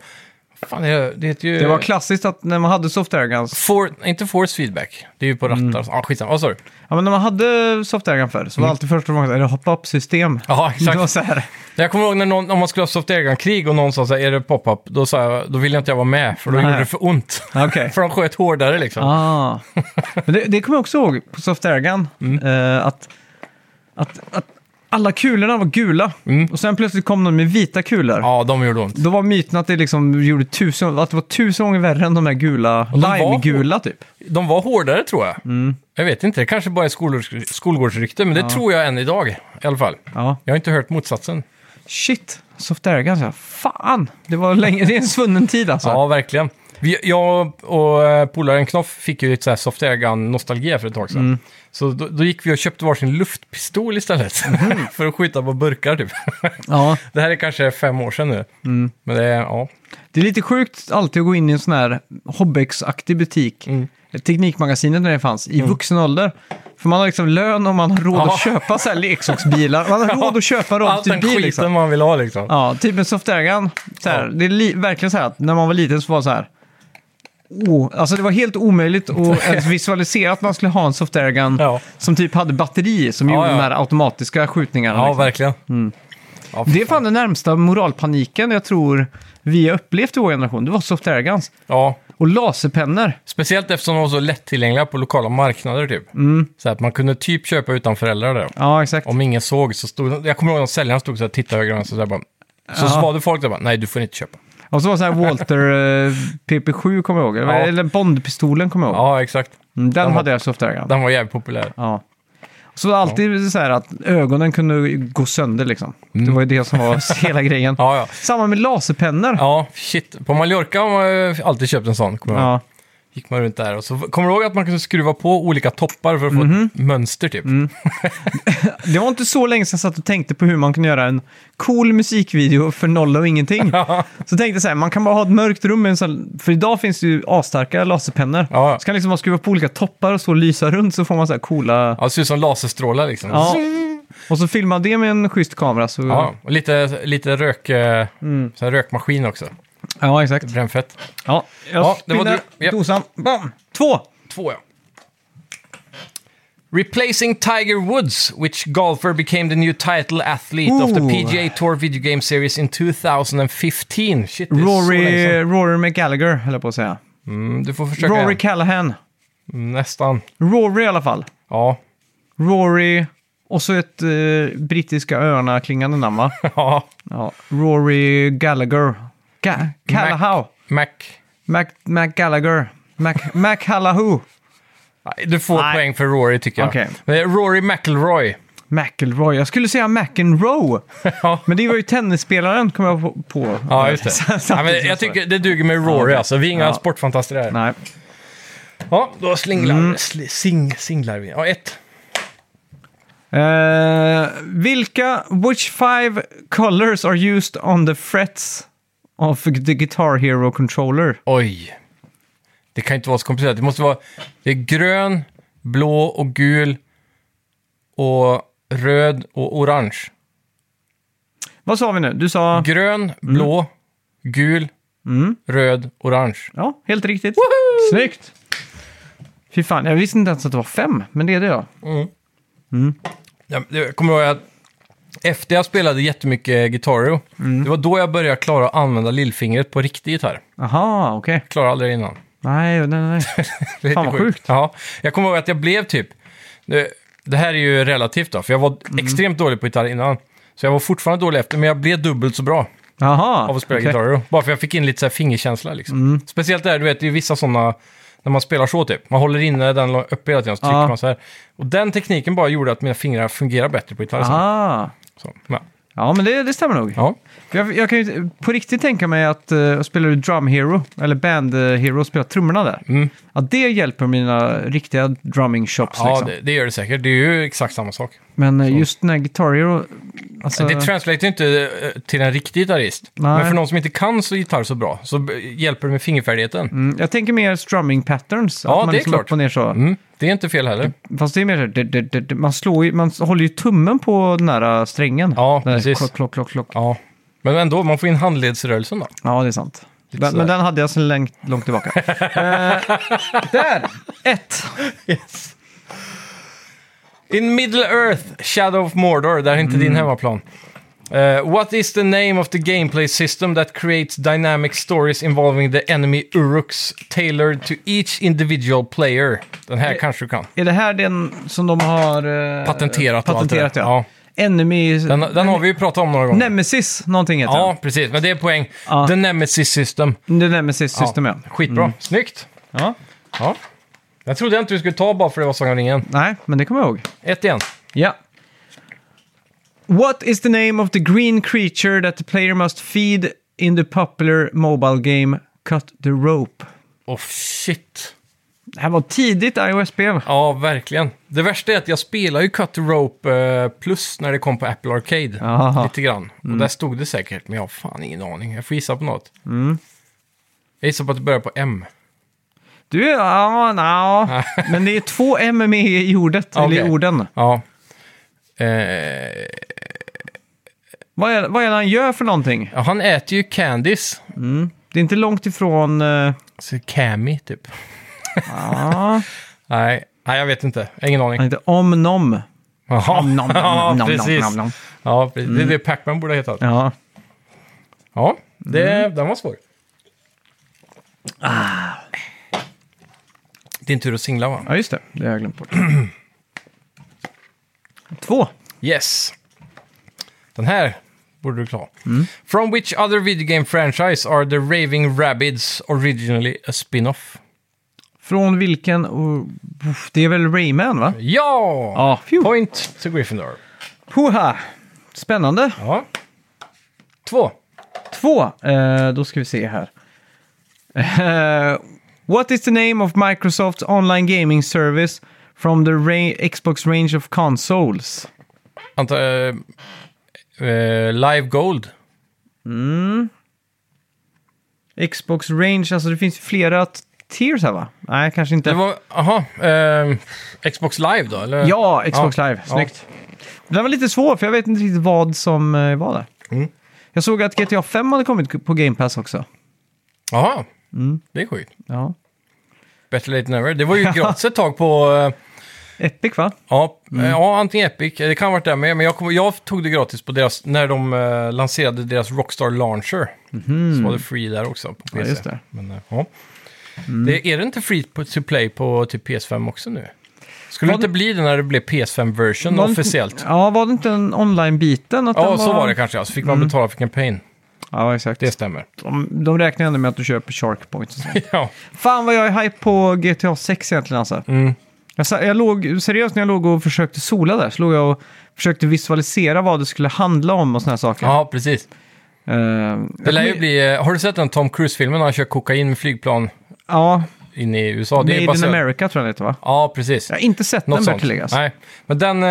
Fan, det, det heter ju... Det var klassiskt att när man hade soft airguns For, inte force feedback. Det är ju på rattar. Mm. Ah, skitsamma. Vad sa du? Ja, men när man hade soft airgun förr så var alltid första frågan, är det hop-up-system? Mm. Ja, Det var exakt. så här. Jag kommer ihåg när någon, om man skulle ha soft airgun-krig och någon sa så här, är det pop-up? Då sa jag, då ville jag inte jag vara med, för då Nej. gjorde det för ont. Okej. för de sköt hårdare liksom. Ah. Men det, det kommer jag också ihåg på Soft Airgun. Mm. Eh, att, att, att alla kulorna var gula och sen plötsligt kom de med vita kulor. Mm. Ja, de gjorde ont. Då var myten att det, liksom gjorde tusen, att det var tusen gånger värre än de här gula, de var- lime-gula typ. De var hårdare tror jag. Mm. Jag vet inte, det kanske bara är skolgårds, skolgårdsrykte, men det tror jag än idag i alla fall. Ja. Jag har inte hört motsatsen. Shit, Soft Airgun, så här, fan! Det var länge, det är en svunnen tid alltså. Ja, verkligen. Vi, jag och eh, polaren Knoff fick ju ett så här soft airgun-nostalgi för ett tag Mm. sedan. Så då, då gick vi och köpte varsin luftpistol istället. för att skjuta på burkar typ. Mm. Ja. Mm. det här är kanske fem år sedan nu. Men det är, ja. Det är lite sjukt alltid att gå in i en sån här Hobbex-aktig butik. Mm. Teknikmagasinet när det fanns, i vuxen ålder. För man har liksom lön och man har råd Ja. att köpa så här leksaksbilar. Man har råd att köpa en Allt robotstil den skiten bil liksom. man vill ha liksom. Ja, typ en soft airgun. Så här, Ja. Det är li- verkligen så här att när man var liten så var det så här. Oh, alltså det var helt omöjligt att ens visualisera att man skulle ha en soft airgun Ja. som typ hade batteri som Ja, gjorde ja. de här automatiska skjutningarna. Ja, liksom. verkligen. Ja, Det är fan den närmsta moralpaniken jag tror vi har upplevt i vår generation. Det var soft airguns. ja, Och laserpennor. speciellt eftersom de var så lättillgängliga på lokala marknader typ. Mm. Så att man kunde typ köpa utan föräldrar där. Ja, exakt. Om ingen såg så stod Jag kommer ihåg att säljaren stod så här och tittade höger och vänster. Så, här bara, så, så Ja. var det folk där bara, nej du får inte köpa. Och så var det så här Walter eh, PP7 kommer jag ihåg. Ja. Eller Bondpistolen kommer jag ihåg. Ja, exakt. Mm, Den Den var- hade jag soft airgun. Den var jävligt populär. Ja. Så var det alltid så här att ögonen kunde gå sönder liksom. Det var ju det som Mm. var hela grejen. Ja, ja. Samma med laserpennor. Ja, shit. På Mallorca har man ju alltid köpt en sån. Kommer jag ihåg. Ja. Gick man runt där och så kommer du ihåg att man kunde skruva på olika toppar för att få Mhm. ett mönster typ. Mm. Det var inte så länge sedan jag satt och tänkte på hur man kunde göra en cool musikvideo för nolla och ingenting. så tänkte jag så här, man kan bara ha ett mörkt rum med en sån, för idag finns det ju asstarka laserpennor. Ja. Så kan liksom man skruva på olika toppar och så lysa runt så får man så här coola... Ja, det ser ut som laserstrålar liksom. Ja. Och så filmar det med en schysst kamera så... Ja, och lite, lite rök, eh, Mm. så här rökmaskin också. Ja, exakt. Brännfett. Ja, jag Ja, det var spinner du. Ja. dosan. Bam! Två! Två ja. Replacing Tiger Woods, which golfer became the new title athlete of the Ooh. PGA Tour video game series in 2015. Shit, det är så länge Rory, sedan. Rory McGallagher, höll jag på att säga. Mm, du får försöka Rory igen. Callahan. Nästan. Rory i alla fall. Ja. Rory och så ett eh, brittiska öarna klingande namn va? ja. ja. Rory Gallagher. Ga- Callahau. Mac. Mac, Mac Gallagher. Mac, Mac Hallahu. Nej, Du får Nej. poäng för Rory tycker jag. Okej. Men det är Rory McIlroy. McElroy. Jag skulle säga McEnroe. Ja. Men det var ju tennisspelaren kom jag på. på. Ja, just det. ja, men Samtidigt jag som tycker det duger med Rory alltså. Vi är inga Ja. sportfantaster här. Nej. Mm. Ja, då slinglar, sli- sing, singlar vi. Ja, ett. Eh, vilka, which five colors are used on the frets of the Guitar Hero controller? Oj. Det kan inte vara så komplicerat. Det måste vara... Det är grön, blå och gul och röd och orange. Vad sa vi nu? Du sa... Grön, blå, gul, röd, orange. Ja, helt riktigt. Snyggt! Fy fan, jag visste inte ens att det var fem, men det är det ja. Jag, jag kommer ihåg att efter jag spelade jättemycket gitarr, det var då jag började klara att använda lillfingret på riktig gitarr. Aha, okej. Jag klarade aldrig det innan. Nej, nej, nej. Det är Fan, lite vad sjukt. Ja, jag kommer ihåg att jag blev typ... Det, det här är ju relativt då, för jag var Mm. extremt dålig på gitarr innan. Så jag var fortfarande dålig efter, men jag blev dubbelt så bra Aha. av att spela okej. Mm. gitarr. då. Bara för jag fick in lite så här fingerkänsla liksom. Speciellt där, du vet, det är vissa sådana... När man spelar så typ. Man håller inne den lo- uppe hela tiden så trycker Ja. man så här. Och den tekniken bara gjorde att mina fingrar fungerar bättre på gitarr. sen. Ah. Så, ja. Ja, men det, det stämmer nog. Ja. Jag, jag kan ju på riktigt tänka mig att uh, spelar du Drum Hero, eller Band eh, Hero, spela trummorna där. Mm. Att det hjälper mina riktiga drumming shops Ja, liksom. det, det gör det säkert. Det är ju exakt samma sak. Men eh, just den här Guitar Hero, alltså, Det translate inte eh, till en riktig gitarrist. Nej. Men för någon som inte kan så gitarr så bra så b- hjälper det med fingerfärdigheten. mm, jag tänker mer strumming patterns. Ja, att man det är liksom klart. upp och ner så. Mm, det är inte fel heller. Fast det är mer så här, det- det- det- det- man, slår ju, man håller ju tummen på den här eh, strängen. Ja, Den här precis. Klock, klock, klock, klock. Ja. Men ändå, man får in handledsrörelsen då. Ja, det är sant. Lite Den, sådär. men den hade jag sedan längt, långt tillbaka. Eh, där! Ett. In Middle Earth, Shadow of Mordor, där är inte din hemmaplan. Eh, what is the name of the gameplay system that creates dynamic stories involving the enemy Uruks tailored to each individual player? Den här kanske du kan. Är det här den som de har... eh, eh, Patenterat och allt det där. Patenterat, ja. Enemy... Den, den har vi ju pratat om några gånger. Nemesis, någonting heter Ja, precis. Men det är poäng. Ja. The Nemesis System. den. Det är Nemesis System, ja. Skitbra. Snyggt. ja. Ja. Jag trodde inte du skulle ta bara för det var Sagan om ringen. Nej, men det kommer jag ihåg. Ett igen. Ja. What is the name of the green creature that the player must feed in the popular mobile game Cut the Rope? Åh, shit. Det här var tidigt iOS-spel. Ja, verkligen. Det värsta är att jag spelar ju Cut the Rope eh, Plus när det kom på Apple Arcade. Aha. Mm. Lite grann. Och där stod det säkert, men jag har fan ingen aning. Jag får gissa på något. Mm. Jag gissar på att det börjar på M. Du, ja, nja. Men det är två M med i ordet, Ja, eller i okej. orden. Ja. Eh, Vad är, vad är det han gör för någonting? ja, han äter ju Candice. Det är inte långt ifrån... eh, Alltså Cammy, typ. ja, Nej. Nej, jag vet inte. Jag har Ingen aning. han heter Om Nom. Jaha. Om nom, nom, ja, nom, nom, precis. nom, nom. Ja, precis. Det är det Pac-Man borde ha hetat. Ja, Ja. det, den var svår. Ah. Din tur att singla, va? ja, just det. Det har jag glömt bort. Två. Yes. Den här borde du klara. From which other video game franchise are the Raving Rabbids originally a spin-off? Från vilken... oh, uff, det är väl Rayman, va? Ja! Ja. Phew. Point to Gryffindor. Hoha! Spännande. Ja. Två. Två. Eh, då ska vi se här. Eh, what is the name of Microsofts online gaming service from the ra- Xbox range of consoles? Anta, eh, eh, live Gold. Xbox range, alltså det finns ju flera t- tiers här va? Nej, kanske inte. Det var, aha, ehm, Xbox Live då? Eller? Ja, Xbox Ja, Live. ja. Snyggt. Den var lite svår, för jag vet inte riktigt vad som eh, var där. Mm. Jag såg att GTA 5 hade kommit på Game Pass också. Jaha, det är sjukt. Ja. Better late than never. Det var ju gratis ett tag på... eh, Epic va? Ja, Mm. eh, ja, antingen Epic, eh, det kan ha varit där med, men jag, kom, jag tog det gratis på deras, när de eh, lanserade deras Rockstar Launcher. Så var det free där också på PC. Mhm. Ja, just det. Mm. Men, eh, ja. det. Är det inte free på, to play på typ PS5 också nu? Skulle det Var inte det- bli det när det blev PS5-version Var det- officiellt? Ja, var det inte en online-biten? att Ja, den så var det kanske. ja. Så fick Mm. man betala för kampanjen. Ja, exakt. Det stämmer. De, de räknar ändå med att du köper Shark Points och sånt. ja. Fan vad jag är hype på GTA 6 egentligen alltså. Mm. Jag Jag, sa- jag låg, seriöst när jag låg och försökte sola där, så låg jag och försökte visualisera vad det skulle handla om och såna här saker. Ja, precis. Eh, Det jag lär ju kommer- bli... eh, Har du sett den Tom Cruise-filmen när han kör kokain med flygplan Ja, in i USA? Det är Made ju in baserat- America tror jag den heter va? Ja, precis. Jag har inte sett Något den bör sånt. tilläggas. Nej, men den... Eh,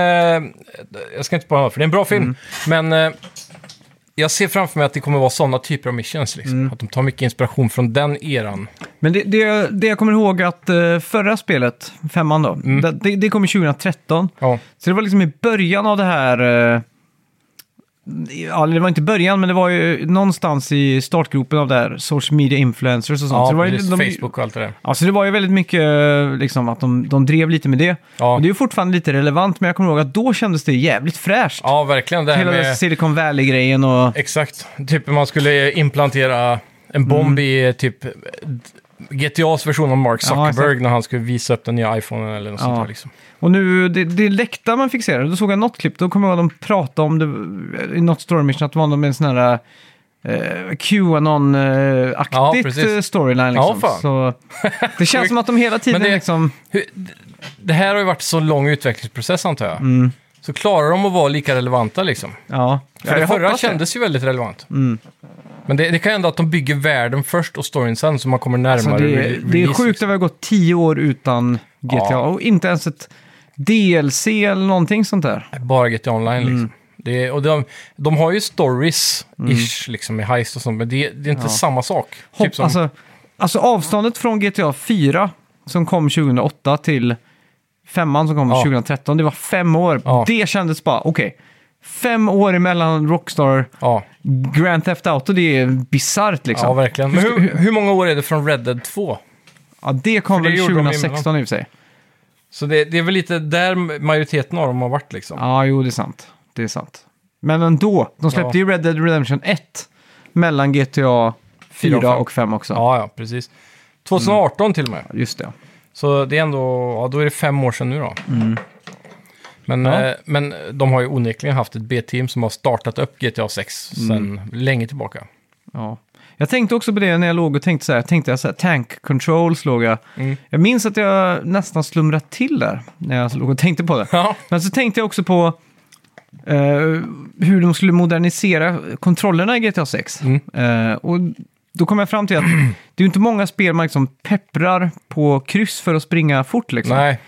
jag ska inte bara för det är en bra film. Mm. Men eh, jag ser framför mig att det kommer vara sådana typer av missions. Liksom. Mm. Att de tar mycket inspiration från den eran. Men det, det, det jag kommer ihåg att eh, förra spelet, femman då, Mm. det- det, det kom 2013. Ja, Så det var liksom i början av det här... eh, Ja, eller det var inte början, men det var ju någonstans i startgropen av det här social media influencers och sånt. ja så det var ju- precis, de, Facebook och allt det där. Ja, så det var ju väldigt mycket eh, liksom, att de, de drev lite med det. Ja. Och det är ju fortfarande lite relevant, men jag kommer ihåg att då kändes det jävligt fräscht. Ja, verkligen. Det här Hela med, Silicon Valley-grejen och... exakt. Typ man skulle implantera en bomb i typ GTAs version av Mark Mm. Ja, exakt. Zuckerberg när han skulle visa upp den nya iPhonen eller något Ja. sånt där. Liksom. Och nu, det, det läckta man fixerade, då såg jag något klipp, då kommer jag ihåg att de pratade om det i något story mission, att det var någon med en sån här eh, Ja, Qanon-aktigt precis. eh, storyline Ja, liksom. fan. Så det känns som att de hela tiden Men det- liksom... Hur, d- det här har ju varit så lång utvecklingsprocess antar jag. Mm. Så klarar de att vara lika relevanta liksom? Ja, För det jag förra hoppas det. Mm. kändes ju väldigt relevant. Men det, det kan ju ändå att de bygger världen först och storyn sen, så man kommer närmare Så Alltså, det, re- det är release, sjukt liksom. att vi har gått tio år utan GTA Ja. och inte ens ett DLC eller någonting sånt där. Bara GTA Online Mm. liksom. Det, är- och de, de har ju stories-ish liksom med heist och sånt, men det, det är inte samma sak. Hopp, typ som, alltså, alltså avståndet från GTA 4 som kom 2008 till femman som kom Ja. 2013, det var fem år. Ja. Det kändes bara, okej, fem år emellan Rockstar, ja, Grand Theft Auto, det är bisarrt liksom. ja, verkligen. Men hur, hur många år är det från Red Dead 2? Ja, det kom För det väl gjorde de 2016 i och för sig. Så det, det är väl lite där majoriteten av dem har varit liksom. Ja, jo, det är sant. Det är sant. Men ändå, de släppte Ja. ju Red Dead Redemption 1 mellan GTA 4 Fyra och fem. och 5 också. Ja, ja, precis. 2018 till och med. Just det. Så det är ändå, ja då är det fem år sedan nu då. Men, Mm. Ja. eh, men de har ju onekligen haft ett B-team som har startat upp GTA 6 Mm. sedan länge tillbaka. Ja. Jag tänkte också på det när jag låg och tänkte så här, jag tänkte jag så här, tank controls låg jag. Mm. Jag minns att jag nästan slumrade till där när jag låg och tänkte på det. Ja, Men så tänkte jag också på eh, hur de skulle modernisera kontrollerna i GTA 6. Mm. Eh, och då kom jag fram till att det är ju inte många spel man liksom pepprar på kryss för att springa fort liksom. nej,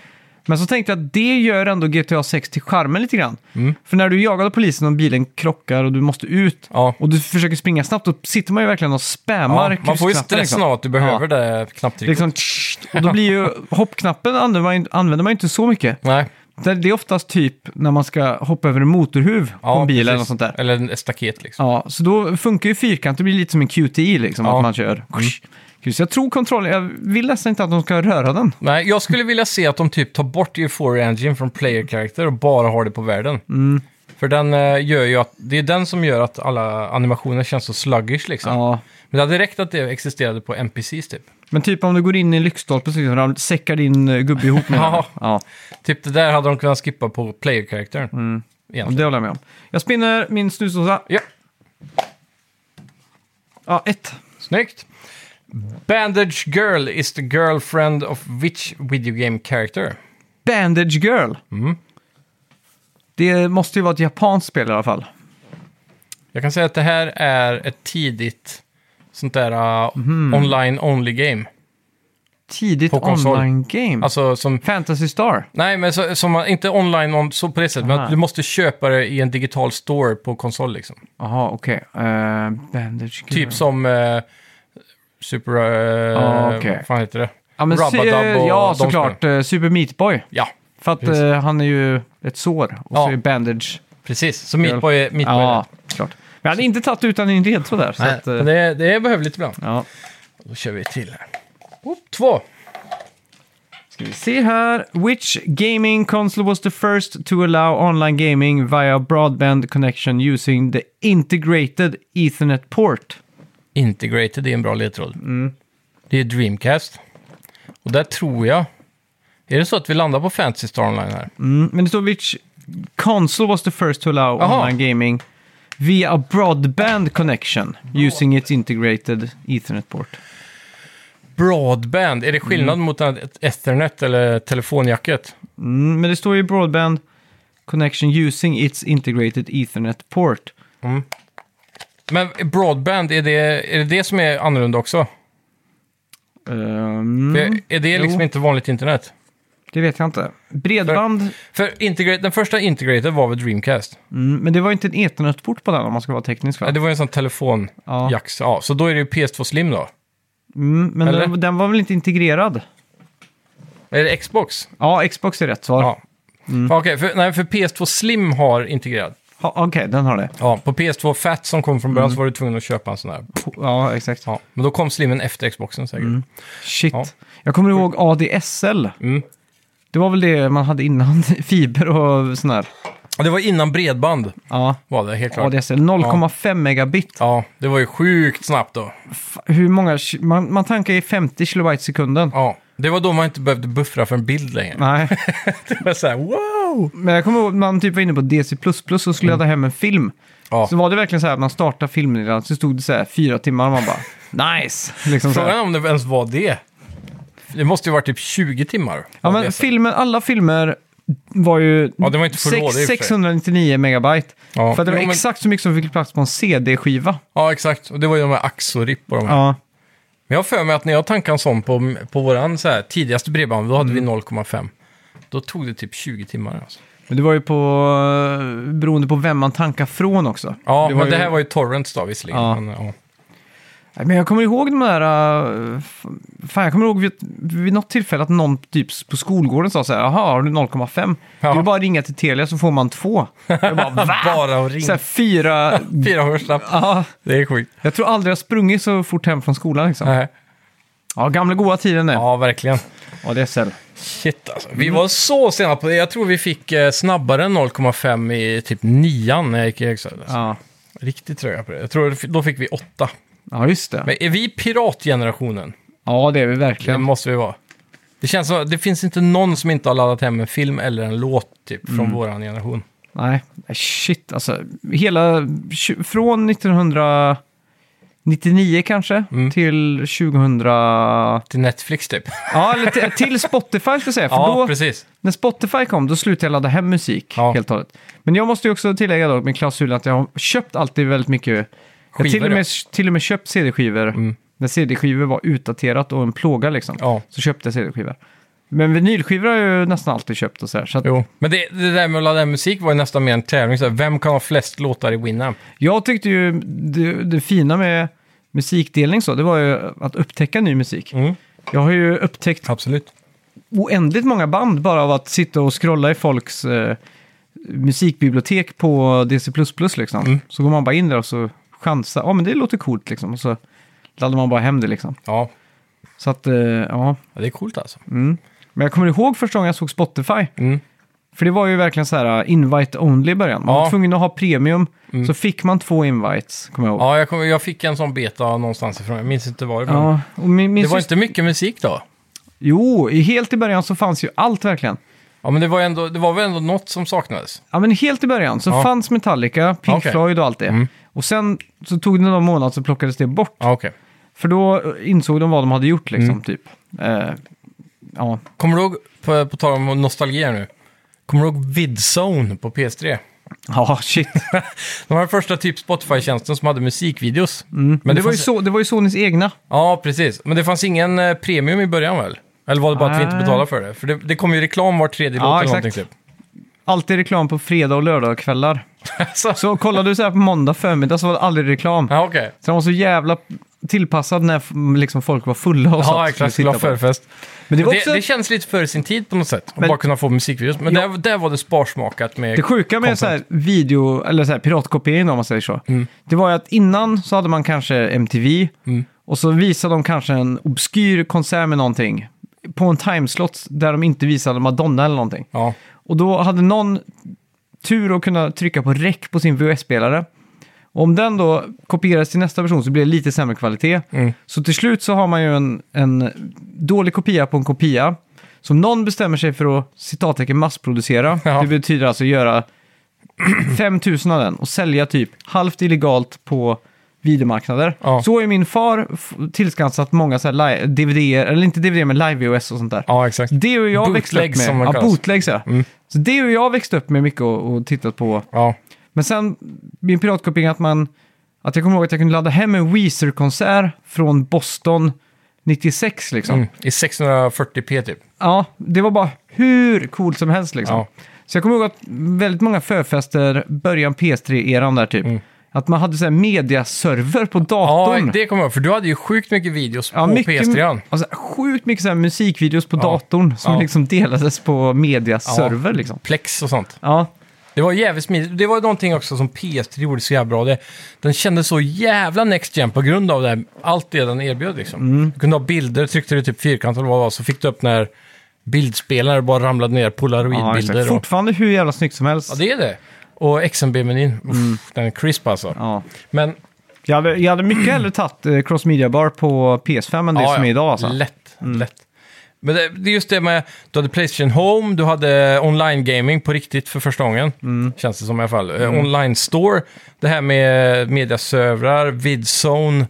Men så tänkte jag att det gör ändå GTA 6 till charmen lite grann. Mm. För när du jagar polisen och bilen krockar och du måste ut ja. och du försöker springa snabbt, då sitter man ju verkligen och spammar ja. Man får kryssknappen, ju stressen liksom. av att du behöver Ja. det knapptrycket. Liksom, tsch, och då blir ju hoppknappen använder man, ju- använder man ju inte så mycket. Nej, Det det är oftast typ när man ska hoppa över en motorhuv på ja, en bil eller precis. något sånt där. Eller en staket liksom. Ja, så då funkar ju fyrkant, det blir lite som en QTI liksom, Ja. Mm. att man kör. Så jag tror kontrollen, jag vill nästan inte att de ska röra den. Nej, jag skulle vilja se att de typ tar bort Euphoria Engine från player character och bara har det på världen. Mm. För den eh, gör ju att, det är den som gör att alla animationer känns så sluggish liksom. Ja. Men det hade räckt att det existerade på NPCs typ. Men typ om du går in i en lyktstolpe så liksom ram- säckar din eh, gubbe ihop med Ja. den. ja. Typ det där hade de kunnat skippa på player-karaktären. Mm. Egentligen. Det håller jag med om. Jag spinner min snusdosa. Ja, Ja, ett. snyggt. Bandage Girl is the girlfriend of which video game character? Bandage Girl. Mm. Det måste ju vara ett japanskt spel i alla fall. Jag kan säga att det här är ett tidigt sånt där uh, Mhm. online-only game. Tidigt På konsol. online-game. Alltså som... Fantasy Star. Nej, men så, som, man- inte online on, så på det sättet, men Aha. att du måste köpa det i en digital store på konsol liksom. Jaha, okej. Eh, Bandage Girl. Typ som eh, Super... eh, Ja, okej. Vad fan heter det? Ja, men se, Rabadab och ja de såklart. eh, Super Meat Boy. Ja, För att Precis. eh, han är ju ett sår. Och Ja. så är Bandage. precis. Så Meat Boy är... Meat Boy är det. Ja, klart. Men jag hade inte tagit utan en ledtråd där. Så Nej, att, eh, men det, det är behövligt ibland. ja. Då kör vi till här. Oop, två. Ska vi se här. Which gaming console was the first to allow online gaming via broadband connection using the integrated ethernet port? Integrated är en bra ledtråd. Mm. Det är Dreamcast. Och där tror jag... Är det så att vi landar på Fantasy Star Online här? Mm, men det står which console was the first to allow Jaha. online gaming via a broadband connection using its integrated ethernet port? Broadband, är det skillnad mot en- ett Ethernet eller telefonjacket? Mm, men det står ju Broadband Connection using its integrated Ethernet port. Men broadband, är det är det, det som är annorlunda också? Ehm, För Är det liksom Jo. inte vanligt internet? Det vet jag inte. Bredband, För integra- den första integrated var väl Dreamcast? mm, men det var ju inte en Ethernet-port på den om man ska vara teknisk va? Nej, Det var ju en sån telefon Ja. Jax, ja. Så då är det ju PS2 Slim då? Mm, men Eller? den, den var väl inte integrerad? Är det Xbox? Ja, Mm. Xbox är rätt svar. Ja. Ja, Okej, för, nej, för PS2 Slim har integrerat. Ha, Okej, den har det. Ja, på PS2 Fat som kom Mm. från början så var du tvungen att köpa en sån här. Ja, exakt. Ja, men då kom Slimmen efter Xboxen säkert. Mm. Shit. Ja. Jag kommer ihåg ADSL. Mm. Det var väl det man hade innan fiber och sån här. Och det var innan bredband Ja, var det, helt klart. ADSL. 0,5 megabit. Ja, det var ju sjukt snabbt då. F- Hur många... ki- Man, man tankar i 50 kilobyte sekunden. Ja, det var då man inte behövde buffra för en bild längre. Nej, Det var så här, wow! men jag kommer ihåg att man typ var inne på DC++ och skulle ladda hem en film. Mm. Ja. Så var det verkligen så här att man startade filmen redan, så stod det så här fyra timmar och man bara nice! Liksom så Frågan här. är om det ens var det. Det måste ju varit typ 20 timmar. Ja det, men så. filmen, alla filmer var ju Ja, det var inte full HD i och för sig. 699 megabyte. Ja. För att det var Jo, men- exakt så mycket som fick plats på en CD-skiva. ja exakt. Och det var ju de här Axorip och de här. Ja. Men jag har för mig att när jag tankade en sån på, på våran så här, tidigaste bredband, då hade vi 0,5. Då tog det typ 20 timmar. Alltså. Men Mm. det var ju på, eh, beroende på vem man tankar från också. Ja, det men ju- det här var ju Torrents då visserligen. Ja. Men, ja. Nej, Men jag kommer ihåg de där... eh, f- Fan, jag kommer ihåg vid, vid något tillfälle att någon typ på skolgården sa så här, jaha, har du 0,5? Ja. Du bara att ringa till Telia så får man två. Jag bara, va? Bara att Så här, ringa. fyra... Fyra hörslapp. ja, Det är sjukt. jag tror aldrig jag sprungit så fort hem från skolan liksom. Nej. Ja, gamla goa tiden det. Ja, verkligen. ADSL. Shit alltså. Vi Mm. var så sena på det. Jag tror vi fick eh, snabbare än 0,5 i typ nian när jag gick i högstadiet. Alltså. Ja. Riktigt tröga på det. Jag tror då fick vi åtta. ja, just det. Men är vi piratgenerationen? Ja, det är vi Det verkligen. måste vi vara. Det känns som det finns inte någon som inte har laddat hem en film eller en låt typ Mm. från våran generation. Nej, shit alltså. Hela, tju- från 1999 kanske Mm. till 2000... Till Netflix typ. Ja, eller till, till Spotify ska jag säga. För ja, då, precis. när Spotify kom, då slutade jag ladda hem musik Ja. helt och hållet. Men jag måste ju också tillägga då med klausulen att jag har köpt alltid väldigt mycket. jag har till Skivor, och med, ja. Mm. till och med köpt CD-skivor. När CD-skivor var utdaterat och en plåga liksom. Ja. Så köpte jag CD-skivor. Men vinylskivor har jag ju nästan alltid köpt och så här. Så att Jo. Men det, det där med att ladda hem musik var ju nästan mer en tävling. Så här, vem kan ha flest låtar i Winamp? Jag tyckte ju det, det fina med musikdelning så, det var ju att upptäcka ny musik. Mm. Jag har ju upptäckt Absolut. oändligt många band bara av att sitta och scrolla i folks eh, musikbibliotek på DC++ liksom. Mm. Så går man bara in där och så chansar, ja men det låter coolt liksom. Och så laddar man bara hem det liksom. Ja. Så att, eh, ja. ja, det är coolt alltså. Men jag kommer ihåg första gången jag såg Spotify. Mm. För det var ju verkligen så här eh, invite only i början. Man Ja. Mm. var tvungen att ha premium, så fick man två invites, kommer jag ihåg. Ja, jag, kom, jag fick en sån beta någonstans ifrån. Jag minns inte var det var. Ja, och min, min Det var syster- inte mycket musik då. Jo, i- helt i början så fanns ju allt verkligen. Ja, men det var, ju ändå, det var väl ändå något som saknades. Ja, men helt i början så Ja. fanns Metallica, Pink Okej. Mm. Floyd och allt det. Och sen så tog det någon månad så plockades det bort. Ja, okej. För då eh, insåg de vad de hade gjort Mm. liksom, typ. Eh, ja. Kommer du ihåg, på, på tal om nostalgi här nu, kommer du ihåg Vidzone på PS3? ja, shit. De var den första typ Spotify-tjänsten som hade musikvideos. Men, Men det, var ju fanns- så, det var ju Sonys egna. Ja, precis. Men det fanns ingen eh, premium i början väl? Eller var det bara att vi inte Nej. betalade för det? För det, det kom ju reklam var tredje Ja, låt eller exakt. någonting typ. Alltid reklam på fredag och lördagskvällar. Alltså. Så kollade du så här på måndag förmiddag så var det aldrig reklam. Ja, okej. Så den var så jävla tillpassad när f- liksom, folk var fulla och sånt. Ja, exakt. Skulle ha förfest. Men det Det, var det, också... känns lite före sin tid på något sätt. Att Men- bara kunna få musikvideos. Men Ja. där, där var det sparsmakat med... Det sjuka med content. så här video, eller så här piratkopiering om man säger så, det var ju att innan så hade man kanske MTV och så visade de kanske en obskyr konsert med någonting på en timeslot där de inte visade Madonna eller någonting. Ja. Och då hade någon tur att kunna trycka på rec på sin VHS-spelare. Och om den då kopierades till nästa version så blir det lite sämre kvalitet. Mm. Så till slut så har man ju en, en dålig kopia på en kopia. Som någon bestämmer sig för att citattecken massproducera. Ja. Det betyder alltså göra 5000 av den och sälja typ halvt illegalt på videomarknader. Ja. Så har ju min far f- tillskansat många så här li- DVD, eller inte DVD men live-VHS och sånt där. Ja, exakt. Det har jag växt upp Bootlegs, med. som de ja, kallas. Mm. bootlegs ja. Så det har jag växt upp med mycket och, och tittat på. Ja, Men sen, min piratkopiering att man... Att jag kommer ihåg att jag kunde ladda hem en Weezer-konsert från Boston 96 liksom. mm. I 640p typ. Ja, det var bara hur coolt som helst liksom. Ja. Så jag kommer ihåg att väldigt många förfester, början PS3-eran där typ. Att man hade så här mediaserver på Mm. Ja, datorn. det kommer jag ihåg, för du hade ju sjukt mycket videos Ja, på PS3. Alltså, sjukt mycket så här musikvideos på Ja. datorn som Ja. liksom delades på mediaserver liksom. Plex och sånt. Ja, Det var jävligt smidigt. Det var någonting också som PS3 gjorde så jävla bra. Det, den kändes så jävla next gen på grund av det här, allt det den erbjöd. Liksom. Mm. Du kunde ha bilder, tryckte du typ fyrkant eller vad det var, så fick du upp när bildspelare bara ramlade ner, ja exakt. polaroidbilder. och, Fortfarande hur jävla snyggt som helst. ja, det är det. Och XMB-menyn, den är crisp alltså. Mm. Ja. Men Jag, hade, jag hade mycket hellre tagit eh, Cross Media Bar på PS5 än det Ja, som är ja. idag alltså. Lätt, lätt. Men det, det är just det med, du hade Playstation Home, du hade online-gaming på riktigt för första gången. Mm. Känns det som i alla fall. Eh, Online-store, det här med mediaservrar, vidzone,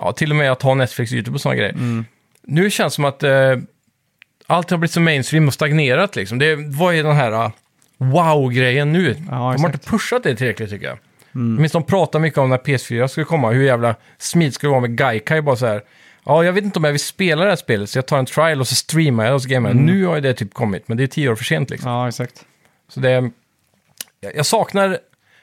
ja, till och med att ha Netflix, YouTube och sådana grejer. Mm. Nu känns det som att eh, allt har blivit så mainstream och stagnerat liksom. Det, vad är den här ah, wow-grejen nu? de har exakt. inte pushat det tillräckligt tycker jag. Mm. Minst de pratar mycket om när PS4 skulle komma, hur jävla smidigt skulle det vara med Gaikai bara så här. Ja, jag vet inte om jag vill spela det här spelet, så jag tar en trial och så streamar jag och så Mm. gamear jag. Nu har ju det typ kommit, men det är tio år för sent liksom. Ja, exakt. Så det, jag, jag saknar,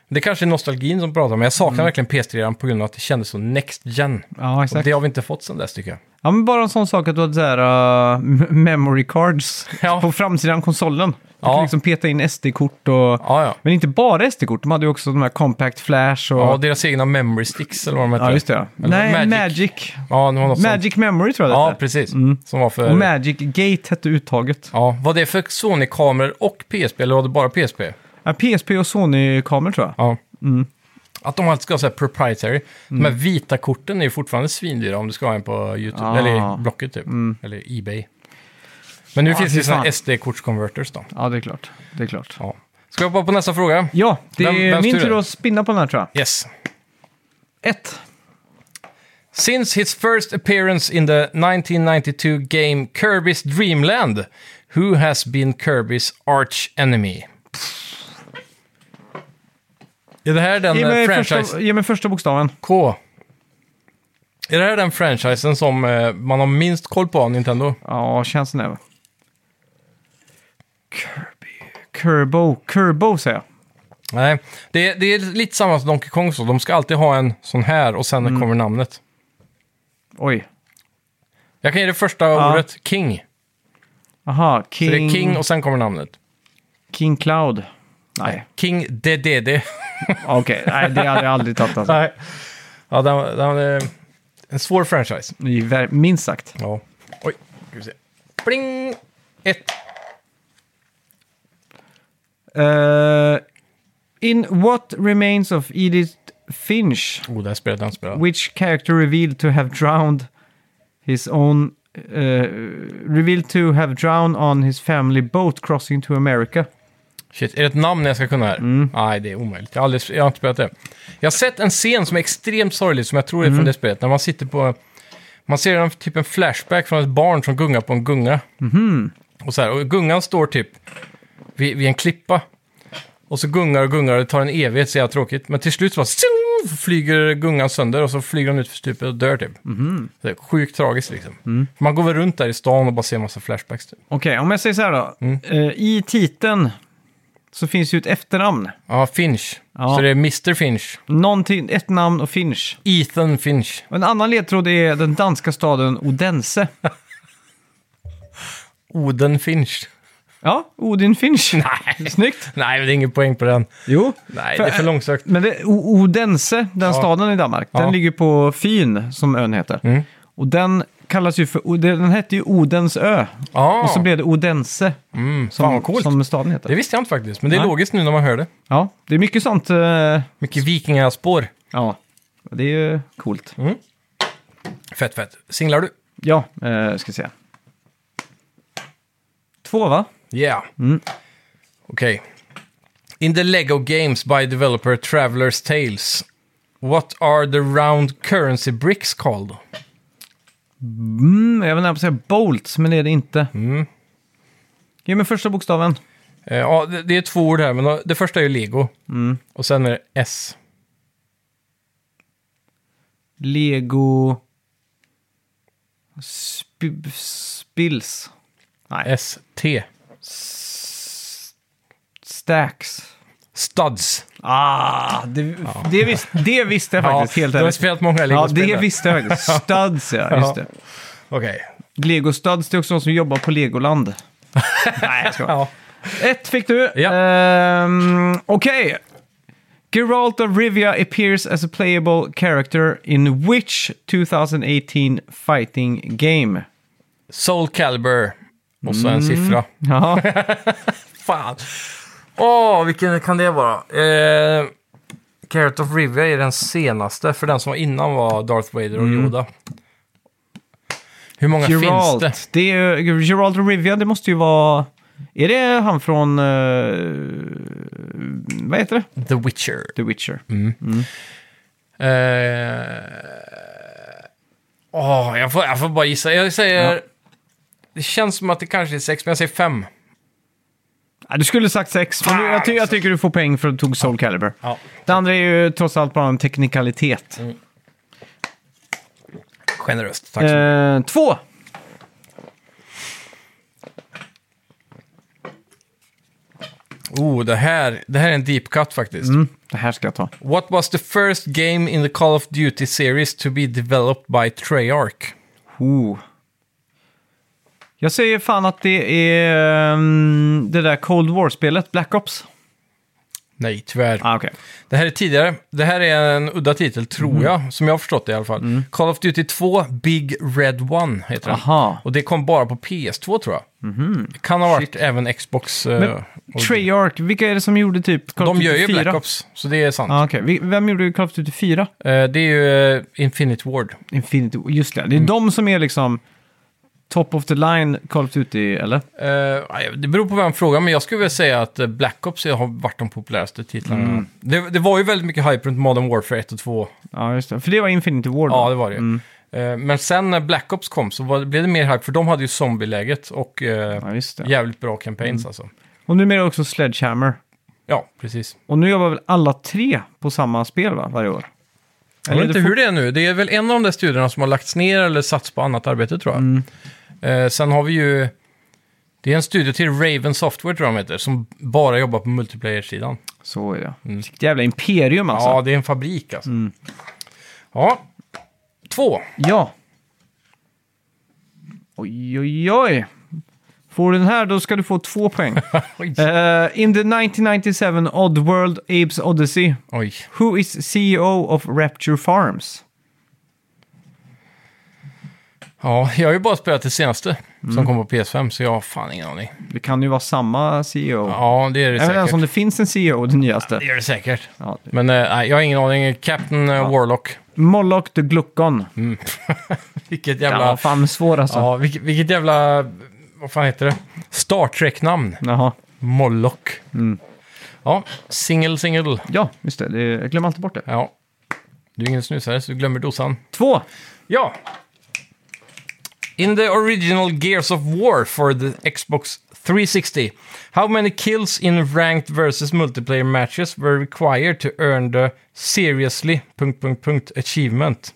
det kanske är nostalgin som pratar, men jag saknar verkligen PS3 på grund av att det kändes så next gen. Mm. Ja, Och exakt. det har vi inte fått sedan dess tycker jag. Ja, men bara en sån sak att du hade så här, uh, m- memory cards Ja. på framsidan av konsolen. Du Ja. kunde liksom peta in SD-kort och... Ja, ja. Men inte bara SD-kort, de hade ju också de här compact flash och... Ja, deras egna memory sticks eller vad de heter. Ja, just det. Ja. Nej, Magic. Magic. Magic, Ja, det var något sånt. Memory tror jag det Ja, hette. precis. Som var för... Och Magic Gate hette uttaget. Ja, var det för Sony-kameror och PSP eller var det bara PSP? Ja, PSP och Sony-kameror tror jag. Ja. Mm. Att de alltid ska ha så här proprietary. De här vita korten är ju fortfarande svindyra om du ska ha en på YouTube, Ah. Mm. eller i Blocket typ, eller Ebay. Men nu finns det fy ju sådana fan. SD-kortskonverters då. Ja, det är klart. Det är klart. Ja. Ska jag hoppa på nästa fråga? Ja, det är Vem- vems min tur är tur det? att spinna på den här tror jag. Yes. Ett. Since his first appearance in the 1992 game Kirby's Dreamland, who has been Kirby's arch enemy? Är det här den Ge eh, mig, franchise... första, ge mig första bokstaven. K. Är det här den franchisen som eh, man har minst koll på av Nintendo? Ja, känns det nu. Kirby. Kerbo. Kerbo säger jag. Nej, det, är- det är lite samma som Donkey Kong så. De ska alltid ha en sån här och sen kommer namnet. Oj. Jag kan ge det första Ja. ordet, King. Aha, Så det King... är King och sen kommer namnet. King Cloud. Nej, King DDD. okej. Nej, det hade jag aldrig tagit alltså. Nej. Ja, den, den är en svår franchise. I ver- Minst sagt. Ja. Oj, ska vi se. Pling! Ett. Eh, in what remains of Edith Finch, Oh, det här spelet har jag inte spelat. which character revealed to have drowned his own... eh, revealed to have drowned on his family boat crossing to America. Shit, är det ett namn jag ska kunna här? Nej, det är omöjligt. Jag har, aldrig, jag har inte spelat det. Jag har sett en scen som är extremt sorglig, som jag tror är från det spelet. När man sitter på... Man ser en, typ en flashback från ett barn som gungar på en gunga. Och, så här, och gungan står typ vid, vid en klippa. Och så gungar och gungar, och det tar en evighet, så jävla tråkigt. Men till slut så bara, zing, flyger gungan sönder och så flyger den ut för stupet och dör typ. Det är sjukt tragiskt liksom. För man går väl runt där i stan och bara ser en massa flashbacks. Typ. Okej, om jag säger så här då. Eh, I titeln så finns ju ett efternamn. Ja, Finch. Ja. Så det är Mr. Finch. Någonting, ett namn och Finch. Ethan Finch. Och en annan ledtråd är den danska staden Odense. Oden Finch. Ja, Odin Finch. Nej. Snyggt. Nej, men det är ingen poäng på den. Jo. Nej, det är för långsökt. Men det, O- Odense, den staden i Danmark, Ja. den ligger på Fyn, som ön heter. Och den kallas ju för, O- den hette ju Odensö. Ja, Mm, Och så blev det Odense, fan som, vad coolt. som staden heter. Ah. det visste jag inte faktiskt. Men det är Nej. logiskt nu när man hör det. Ja, det är mycket sånt. eh, Mycket vikingaspår. ja, det är ju coolt. Mm. Fett, fett. Singlar du? Ja, eh, ska se. Två va? Yeah. Mm. Okej. In the Lego games by developer Travelers Tales, What are the round currency bricks called? Mm, jag vill nära på att säga bolts, men det är det inte. Mm. Ge mig första bokstaven. Eh, ja, det, det är två ord här, men det första är ju Lego. Mm. Och sen är det S. Lego... Sp- spills. S-T. S- Stacks. Studs. Ah, det, det, vis, det visste jag faktiskt helt du har ärligt. spelat många Ja, Lego-spel. det där. visste jag faktiskt. Studs, ja. Just det. Okej. Lego Studs, det är också de som jobbar på Legoland. Nej, jag skojar. Ja. Ett fick du. Ja. Ehm, Okej. Geralt of Rivia appears as a playable character in which 2018 fighting game? Soul Calibur. Och så en Mm. siffra. Ja, Fan. Åh, vilken kan det vara? Eh, Carrot of Rivia är den senaste, för den som var innan var Darth Vader och Yoda. Hur många finns det? Mm. Geralt. Det är, ju- Geralt of Rivia, det måste ju vara... Är det han från... eh, vad heter det? The Witcher. The Witcher. Eh, Åh, jag, får, jag får bara gissa. Jag säger... Det känns som att det kanske är sex, men jag säger fem. Ja, du skulle sagt sex, men du, jag, ty- jag tycker du får poäng för att du tog Soul Calibur. Ja. Det andra är ju trots allt bara en teknikalitet. Generöst, Mm. tack. så mycket. Eh, två! oh, det här, det här är en deep cut faktiskt. Det här ska jag ta. What was the first game in the Call of Duty series to be developed by Treyarch? Oh. Jag säger fan att det är mm, det där Cold War-spelet, Black Ops. Nej, tyvärr. Ah, okej. Det här är tidigare. Det här är en udda titel, tror Mhm. jag, som jag har förstått det i alla fall. Mm. Call of Duty 2, Big Red One heter den. Aha. Mhm. Och det kom bara på PS2, tror jag. Det kan ha varit även Xbox. eh, och- Treyarch, vilka är det som gjorde typ Call of de Duty gör ju 4? Black Ops, så det är sant. Ah, okej. Vi- Vem gjorde Call of Duty 4? Eh, det är ju eh, Infinite Ward. Infinity War, just det. Det är Mm. de som är liksom top of the line Call of Duty, eller? Eh, nej, det beror på vem frågar, men jag skulle vilja säga att eh, Black Ops har varit de populäraste titlarna. Det, det var ju väldigt mycket hype runt Modern Warfare 1 och 2. Ja, just det. Mm. För Mm. det var Infinity War då. Ja, det var det. Eh, Men sen när Black Ops kom så var, blev det mer hype, för de hade ju zombieläget och eh, Ja, just det. Mm. jävligt bra campaigns alltså. Och numera också Sledgehammer. Ja, precis. Och nu jobbar väl alla tre på samma spel va, varje år? Jag Eller vet är det inte hur det är nu. Det är väl en av de där studierna som har lagts ner eller satts på annat arbete tror jag. Mm. Eh, sen har vi ju... Det är en studio till Raven Software tror jag de heter, som bara jobbar på multiplayer-sidan. Så är det. Vilket jävla imperium alltså. Mm. Ja, det är en fabrik alltså. Ja, två. Ja. Oj, oj, oj. Får du den här då ska du få två poäng. Oj. Eh, in the 1997 Oddworld Apes Odyssey, Oj. who is CEO of Rapture Farms? Ja, jag har ju bara spelat det senaste som kom på PS5, så jag har fan ingen aning. Det kan ju vara samma E CEO. Ja, det är det Även säkert. om det finns en CEO, den nyaste. Det gör det säkert. Ja, det- Men eh, nej, jag har ingen aning. Captain eh, Warlock. Moloch the Gluckon. Vilket Ja, jävla... vad Ja, fan svår alltså. vilket, vilket jävla... Vad fan heter det? Star Trek-namn. Jaha. Moloch. Ja, single, single. Ja, just det. det. Jag glömmer alltid bort det. Ja. Du är ingen snusare, så du glömmer dosan. Två. Ja. In the original Gears of War for the Xbox 360, how many kills in ranked versus multiplayer matches were required to earn the seriously... Punkt, punkt, punkt, achievement?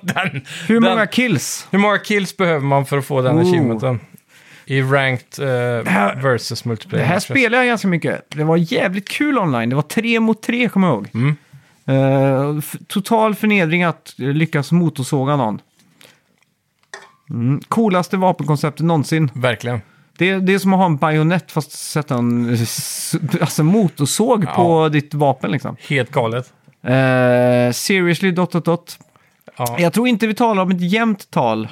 den, Hur den- många kills? Hur många kills behöver man för att få den Oh. achievementen? I ranked eh, här- versus multiplayer Det här matches. spelade jag ganska mycket. Det var jävligt kul online. Det var tre mot tre, kommer jag ihåg. Eh, f- total förnedring att eh, lyckas motorsåga någon. Mm. Coolaste vapenkonceptet någonsin. Verkligen. Det, är- det är som att ha en bajonett fast sätta en eh, s- alltså motorsåg på ditt vapen liksom. Helt galet. Eh, seriously, dot, dot, dot. Ja. Jag tror inte vi talar om ett jämnt tal.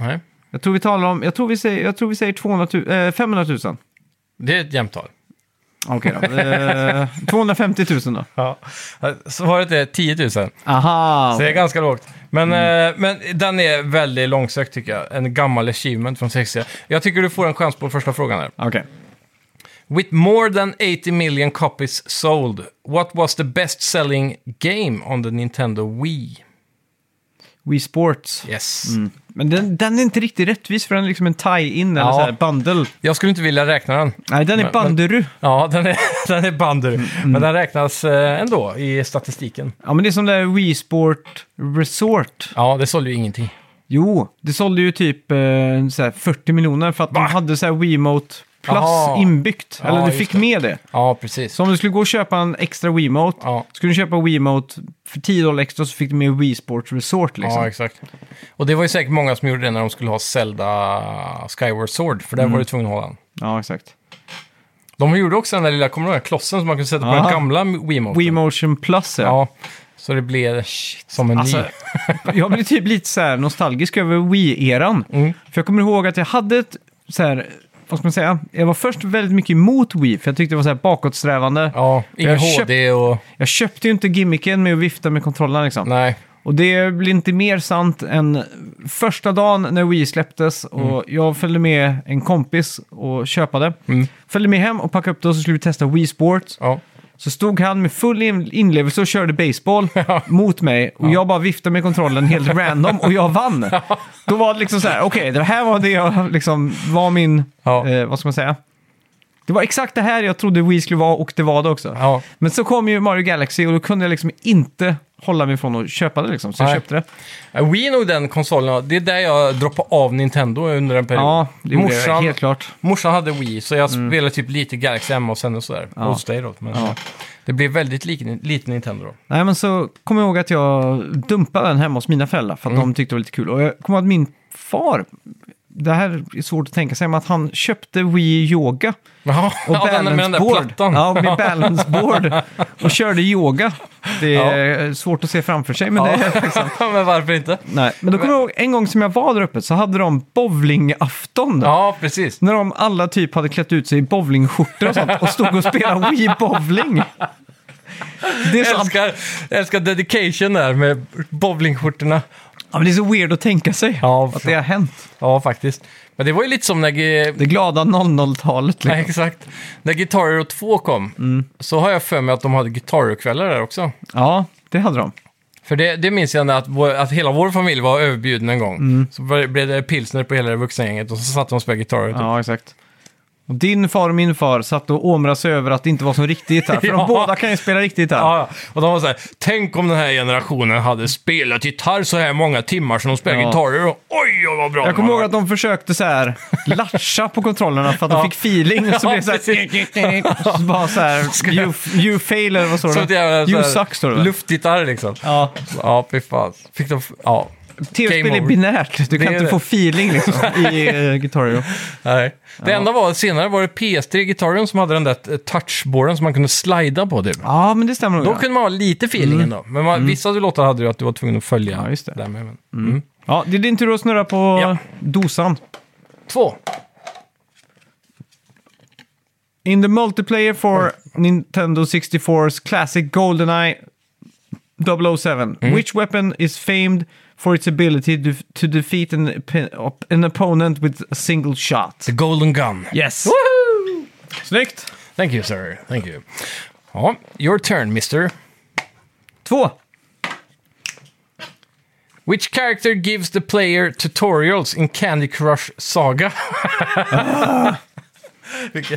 Nej. Jag tror vi talar om, jag tror vi säger, jag tror vi säger 200 000, eh, 500 000. Det är ett jämnt tal. Okej då. Eh, 250 000 då. Ja. Svaret är 10 000, så Aha! det är ganska lågt. Men, eh, men den är väldigt långsökt tycker jag. En gammal achievement från 60. Jag tycker du får en chans på första frågan här. Okej. With more than 80 million copies sold, what was the best-selling game on the Nintendo Wii? Wii Sports. Yes. Men den, den är inte riktigt rättvis för den är liksom en tie-in eller Ja. så här bundle. Jag skulle inte vilja räkna den. Nej, den är Men- banduru. Ja, den är, den är Bandur. Men den räknas eh, ändå i statistiken. Ja, men det är som det här Wii Sport Resort. Ja, det sålde ju ingenting. Jo, det sålde ju typ eh, så här 40 miljoner för att de hade så här Wiimote Plus Aha. inbyggt. Ja, eller du just fick det. med det. Ja, precis. Så om du skulle gå och köpa en extra Wiimote, Ja. skulle du köpa Wiimote för 10 dollar extra så fick du med Wii Sports Resort liksom. Ja, exakt. Och det var ju säkert många som gjorde det när de skulle ha Zelda Skyward Sword, för där var du tvungen att ha den. Ja, exakt. De gjorde också den där lilla, kommer du ihåg, den klossen som man kunde sätta på Aha. den gamla Wiimote? Wii Motion Plus ja. Ja, så det blev som en Alltså, ny. jag blir typ lite så här nostalgisk över Wii-eran. Mm. För jag kommer ihåg att jag hade ett så här, vad ska man säga, jag var först väldigt mycket emot Wii, för jag tyckte det var så här bakåtsträvande. Ja, ingen Jag köpt- HD och... Jag köpte ju inte gimmicken med att vifta med kontrollen liksom. Nej, Och det blir inte mer sant än första dagen när Wii släpptes och jag följde med en kompis och köpade. Mm. Följde med hem och packade upp det och så skulle vi testa Wii Sports. ja. Så stod han med full in- inlevelse och körde baseball mot mig och jag bara viftade med kontrollen helt random och jag vann. Då var det liksom så här, okej, det här var det jag liksom var min, Ja. eh, vad ska man säga? Det var exakt det här jag trodde Wii skulle vara och det var det också. ja. Men så kom ju Mario Galaxy och då kunde jag liksom inte hålla mig från att köpa det liksom, så jag Nej. köpte det. Ja, Äh, Wii är nog den konsolen, det är där jag droppade av Nintendo under en period. Ja, det gjorde jag morsan, helt klart. Mm. morsan hade Wii, så jag spelade typ lite Galaxy hemma och sen och sådär. Hos dig då. Men Ja. Det blev väldigt lik, lite Nintendo då. Nej, men så kom jag ihåg att jag dumpade den hemma hos mina föräldrar för att Mm. de tyckte det var lite kul. Och jag kommer ihåg att min far, det här är svårt att tänka sig, men att han köpte Wii Yoga Jaha, och ja, den, med den där balanceboard. plattan. Ja, med balanceboard och körde yoga. Det är svårt att se framför sig, men det är liksom... men varför inte? Nej, men då kommer jag ihåg en gång som jag var där uppe så hade de bowlingafton. Ja, precis. När de alla typ hade klätt ut sig i bowlingskjortor och sånt och stod och spelade Wii Bowling. Det är, Jag så, älskar, jag älskar dedication där med bowlingskjortorna. ja, men det är så weird att tänka sig Ja, att för- det har hänt. Ja, faktiskt. Men det var ju lite som när... G- Det glada 00-talet. Nej, Liksom. exakt. När Guitar Hero 2 kom Mm. så har jag för mig att de hade Guitar Hero-kvällar där också. Ja, det hade de. För det, det minns jag när att, vår, att hela vår familj var överbjuden en gång. Mm. Så var- blev det pilsner på hela det vuxengänget och så satt de och spelade Guitar Hero. typ. Ja, exakt. Och din far och min far satt och åmrade sig över att det inte var som riktigt gitarr. För Ja. de båda kan ju spela riktigt gitarr. Ja, ja. och de var så här, tänk om den här generationen hade spelat gitarr så här många timmar som de spelade Ja. Guitar Hero. Oj, vad bra Jag de kommer var." ihåg att de försökte så här latcha på kontrollerna för att de Ja. fick feeling. Och så Ja, blev det så här... så bara så här... You, you fail eller vad står Så det? att jag, You så här, suck står det. väl? Luftgitarr liksom. Ja. Ja, fy fan. Fick de... Ja. Tv-spel Game är over. binärt, du Det kan är inte det. få feeling liksom i uh, Guitar Hero. Nej. Det enda var senare var det PS3-gitarren som hade den där eh, touchboarden som man kunde slida på typ. Ja, men det stämmer nog. Då ja. Mm. kunde man ha lite feeling ändå. Men man, vissa låtar hade ju att du var tvungen att följa. Ja, just det. Mm. Där med, men. Mm. Ja, det är din tur att snurra på Ja. dosan. Två. In the multiplayer for Nintendo 64's classic GoldenEye 007, which weapon is famed for its ability to, to defeat an, op- op- an opponent with a single shot? The Golden Gun. Yes. Snyggt! Thank you sir. Thank you. Ja, your turn mister. Två. Which character gives the player tutorials in Candy Crush Saga? Ah.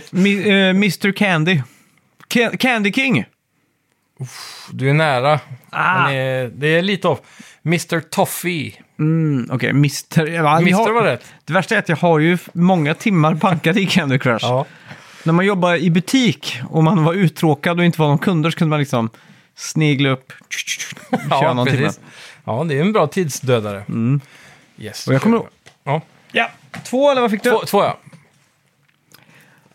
Mi- eh, Mr Candy. Ca- Candy King. Du är nära. Ah. Men, eh, det är lite off. Mr Toffee. Mm, Okej, Mr... Ja, vi Mr har- var rätt. Det värsta är att jag har ju f- många timmar bankade i Candy Crush. När man jobbar i butik och man var uttråkad och inte var någon kunder så kunde man liksom snegla upp, köra någon timme. Mm. Ja, det är en bra tidsdödare. Yes. Och jag kommer ihåg- Ja. Ja, två eller vad fick du? Två, två ja.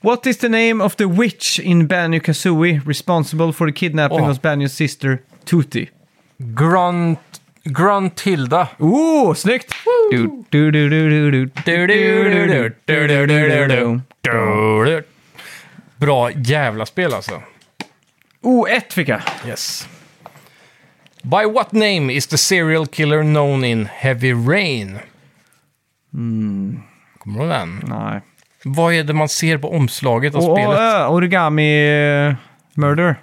What is the name of the witch in Banjo Kazooie responsible for the kidnapping Åh. of Banjos sister Tutti? Grunt, Gruntilda. Oh, snyggt! Du, du, du, du, du, du. Du, du, du, du, du, du, du, du, du. Du, du. Bra jävla spel alltså. Oh, ett fick jag. Yes. By what name is the serial killer Mm. known in Heavy Rain? Kommer du ihåg den? Nej. Vad är det man ser på omslaget av Och, och, spelet? eh, origami eh, Murder.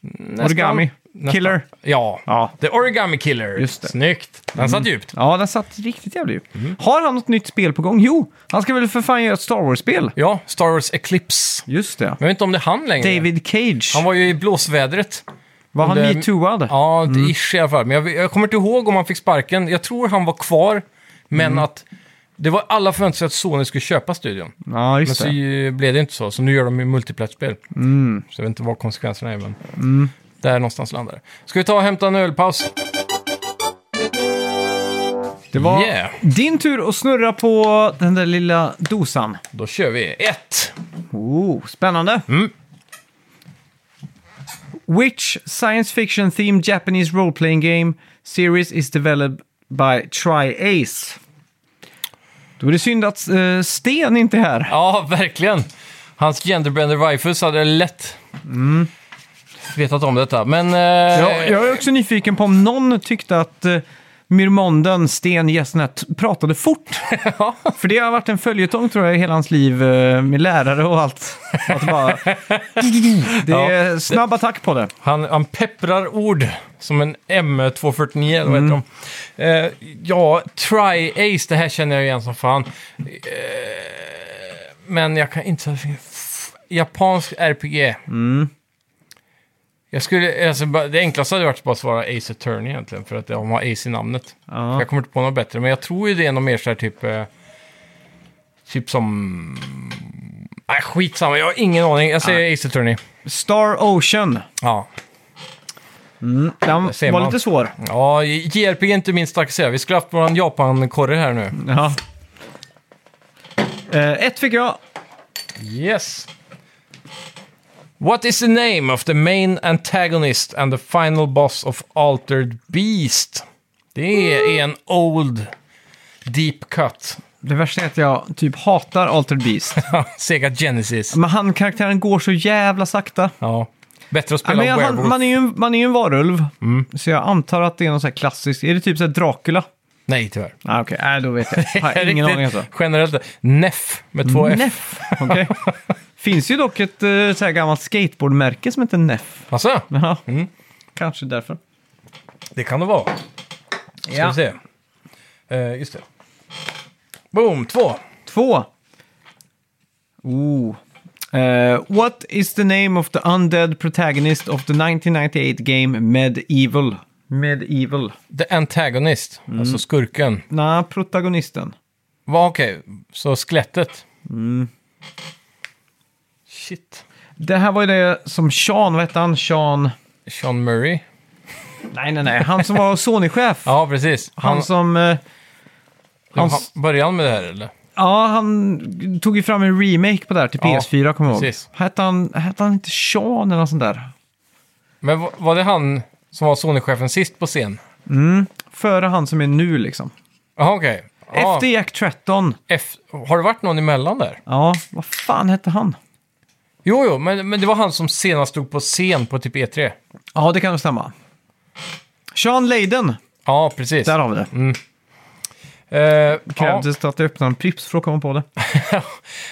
Nästan. origami. Nästan. Killer. Ja. Ja. The Origami Killer. Just det. Mm. Snyggt. Den satt djupt. Ja, den satt riktigt jävligt djupt. Har han något nytt spel på gång? Jo, han ska väl för fan göra ett Star Wars-spel? Ja, Star Wars Eclipse. Just det. Men jag vet inte om det är han längre. David Cage. Han var ju i blåsvädret. var han det- metooad? Ja, mm. ish i alla fall. Men jag, jag kommer inte ihåg om han fick sparken. Jag tror han var kvar, men Mm. att det var alla förväntade sig att Sony skulle köpa studion. Ja, Men just så det. Mm. ju- blev det inte så, så nu gör de ju multiplattspel. Så jag vet inte vad konsekvenserna är, men där någonstans landar det. Ska vi ta och hämta en ölpaus? Det var Yeah. din tur att snurra på den där lilla dosan. Då kör vi. Ett! Oh, spännande. Mm. Which science fiction themed Japanese role playing game series is developed by Tri-Ace? Då är det synd att eh, Sten inte är här. Ja, verkligen. Hans genderbender Vifus hade lätt vetat om detta, men... eh, Jag, jag är också nyfiken på om någon tyckte att eh, Myrmonden, Sten Gessnet, pratade fort. För det har varit en följetong tror jag i hela hans liv eh, med lärare och allt. Att det bara... Det är snabb attack på det. Han, han pepprar ord som en M249, eller vad heter de? Eh, ja, Tri-Ace, det här känner jag igen som fan. Eh, men jag kan inte... Japansk RPG. Jag skulle, alltså, bara- det enklaste hade varit bara att svara Ace Attorney egentligen, för att de har Ace i namnet. Ja. Jag kommer inte på något bättre, men jag tror ju det är något mer så här typ... Eh, typ som... Nej, skitsamma, jag har ingen aning. Jag säger Ace Attorney. Star Ocean. Ja, Den ser var man. lite svår. Ja, JRPG är inte min starka sida. Vi skulle haft våran Japan-korre här nu. Ja. Eh, ett fick jag. Yes. What is the name of the main antagonist and the final boss of Altered Beast? Det är en old deep cut. Det värsta är att jag typ hatar Altered Beast. Sega Genesis. Men han karaktären går så jävla sakta. Ja. Bättre att Ja, spela men jag, han, Werewolf. man, är ju, en- man är ju en varulv. Så jag antar att det är någon sån här klassisk. Är det typ så här Dracula? Nej, tyvärr. Ah, Okej, Nej, då vet jag. Har jag ingen aning alltså. Riktigt Generellt. Neff med två F. Neff. Okej. Finns ju dock ett eh, så här gammalt skateboardmärke som heter Neff. Alltså, Ja. Kanske därför. det kan det vara. Ska vi se. Eh, just det. Boom, två. Två. Oh. Eh, what is the name of the undead protagonist of the 1998 game Medieval? Medieval. The Antagonist, alltså skurken. Nej, protagonisten. Va, Okej, så skelettet. Shit. Det här var ju det som Sean, vad hette han? Sean... Sean Murray. Nej, nej, nej. Han som var Sony-chef. Ja, precis. Han, Han, han, som... eh, hans- började han med det här eller? Ja, han tog ju fram en remake på det här till Ja, PS4, kommer jag ihåg. precis. Hette han, hette han inte Sean eller något sånt där? Men va- var det han som var Sony-chefen sist på scen? Före han som är nu liksom. Jaha, okej. Ja, Efter Jack Tretton. F- har det varit någon emellan där? Ja, vad fan hette han? Jo, jo, men, men det var han som senast stod på scen på typ E3. Ja, det kan nog stämma. Sean Leiden. Ja, precis. Där har vi det. Eh, Mm. ja, Krävdes det att jag öppnade en Pripps för att komma på det.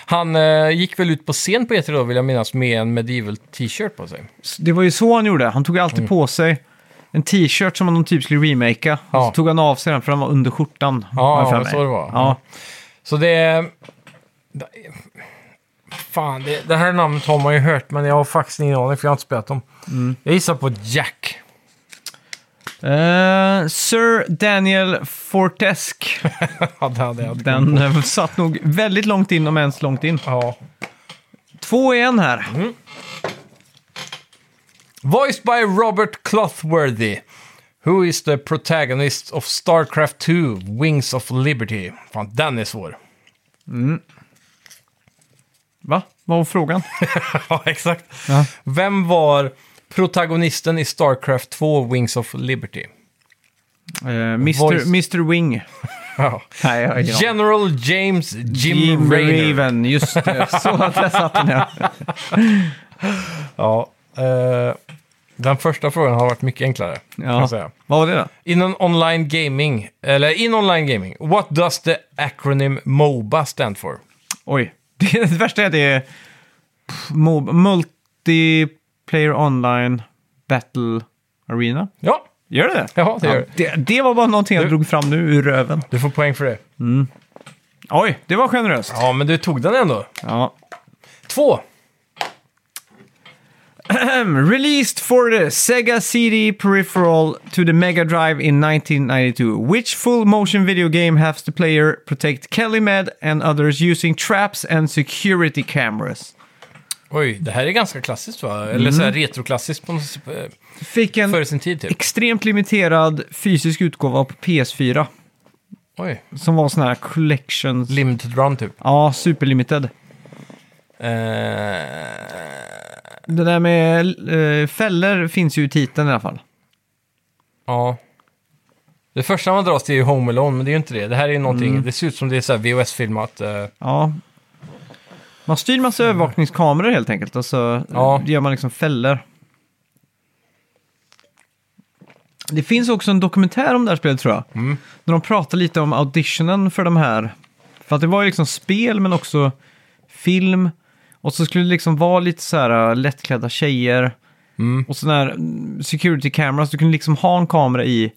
han eh, gick väl ut på scen på E3 då, vill jag minnas, med en medieval t-shirt på sig. S- Det var ju så han gjorde. Han tog alltid Mm. på sig en t-shirt som han typ skulle remakea. Och Ja. så tog han av sig den för den var under skjortan. Ja, har jag för mig. så det var. Ja. Så det... det fan, det, det här namnet har man ju hört, men jag har faktiskt ingen aning för jag har inte spelat dem. Jag gissar på Jack. Eh, Sir Daniel Fortesk. Ja, det hade jag. Den eh, satt nog väldigt långt in, om ens långt in. Ja. Två i en här. Voiced by Robert Clothworthy. Who is the protagonist of Starcraft 2, Wings of Liberty? Fan, den är svår. Va? Vad var frågan? ja, exakt. Ja. Vem var protagonisten i Starcraft 2, Wings of Liberty? Eh, Mr. Voice. Mr. Wing. Ja. Nej, jag har ingen aning. General James Jim, Jim Raynor. Raven, just det. Så att jag satt den ja. Ja, eh, den första frågan har varit mycket enklare. Kan ja. jag säga. Vad var det då? In an online gaming, eller in online gaming, what does the acronym MOBA stand for? Oj. Det, det värsta är att det är pff, mo- multiplayer online battle arena. Ja, Gör det ja det gör det. det, det var bara någonting jag Du- drog fram nu ur röven. Du får poäng för det. Oj, det var generöst. Ja, men du tog den ändå. Ja. Två. Released for the Sega CD peripheral to the Mega Drive in 1992. Which full motion video game has the player protect Kelimed and others using traps and security cameras? Oj, det här är ganska klassiskt va? Eller så här retroklassiskt på något, eh, Fick en före sin tid typ. extremt limiterad fysisk utgåva på PS4 Oj, som var sån här collections. limited run typ. ja, superlimited. Eh, Det där med eh, fällor finns ju i titeln i alla fall. ja. Det första man dras till är ju Home Alone, men det är ju inte det. Det här är ju någonting, det ser ut som det är så här VHS-filmat. eh, Ja. Man styr massa övervakningskameror helt enkelt och så Mm. Ja. ja. gör man liksom fällor. Det finns också en dokumentär om det här spelet tror jag. Mm. Där de pratar lite om auditionen för de här. För att det var ju liksom spel men också film. Och så skulle det liksom vara lite så här äh, lättklädda tjejer. Mm. Och sådana här mm, security cameras. Du kunde liksom ha en kamera i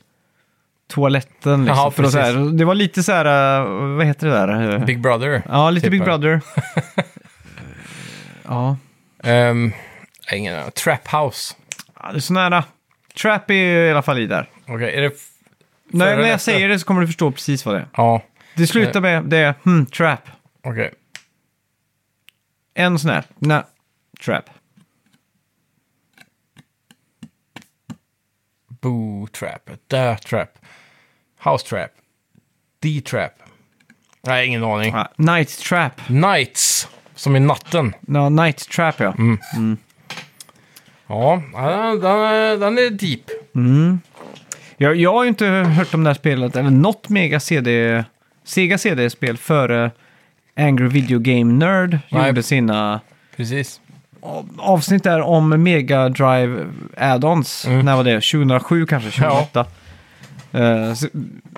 toaletten. Liksom, Jaha, för att så här, det var lite så här, äh, vad heter det där? Eh, Big Brother. Ja, lite Typ Big av- Brother. Eh, ja. Ehm, nej, ingen aning. Trap House. ja, det är så nära. Trap är ju i alla fall i där. Okej, är det... f- När, Före när jag nästa. Eh. säger det så kommer du förstå precis vad det är. Ja, Det slutar med det, hmm, trap. okej. En sån här, nä, trap. Boo Trap, Da Trap, House Trap, D Trap. Nej, ingen aning. Ja, night trap. Nights, som i natten. Ja, night trap ja. Mm. Ja, den, den, den är deep. Jag, jag har ju inte hört om det här spelet, eller något mega CD, Sega CD-spel före Angry Video Game Nerd Nej. gjorde sina Precis. av- avsnitt där om Mega Drive Add-ons. Mm. När var det? 2007 kanske? 2008? Eh, så,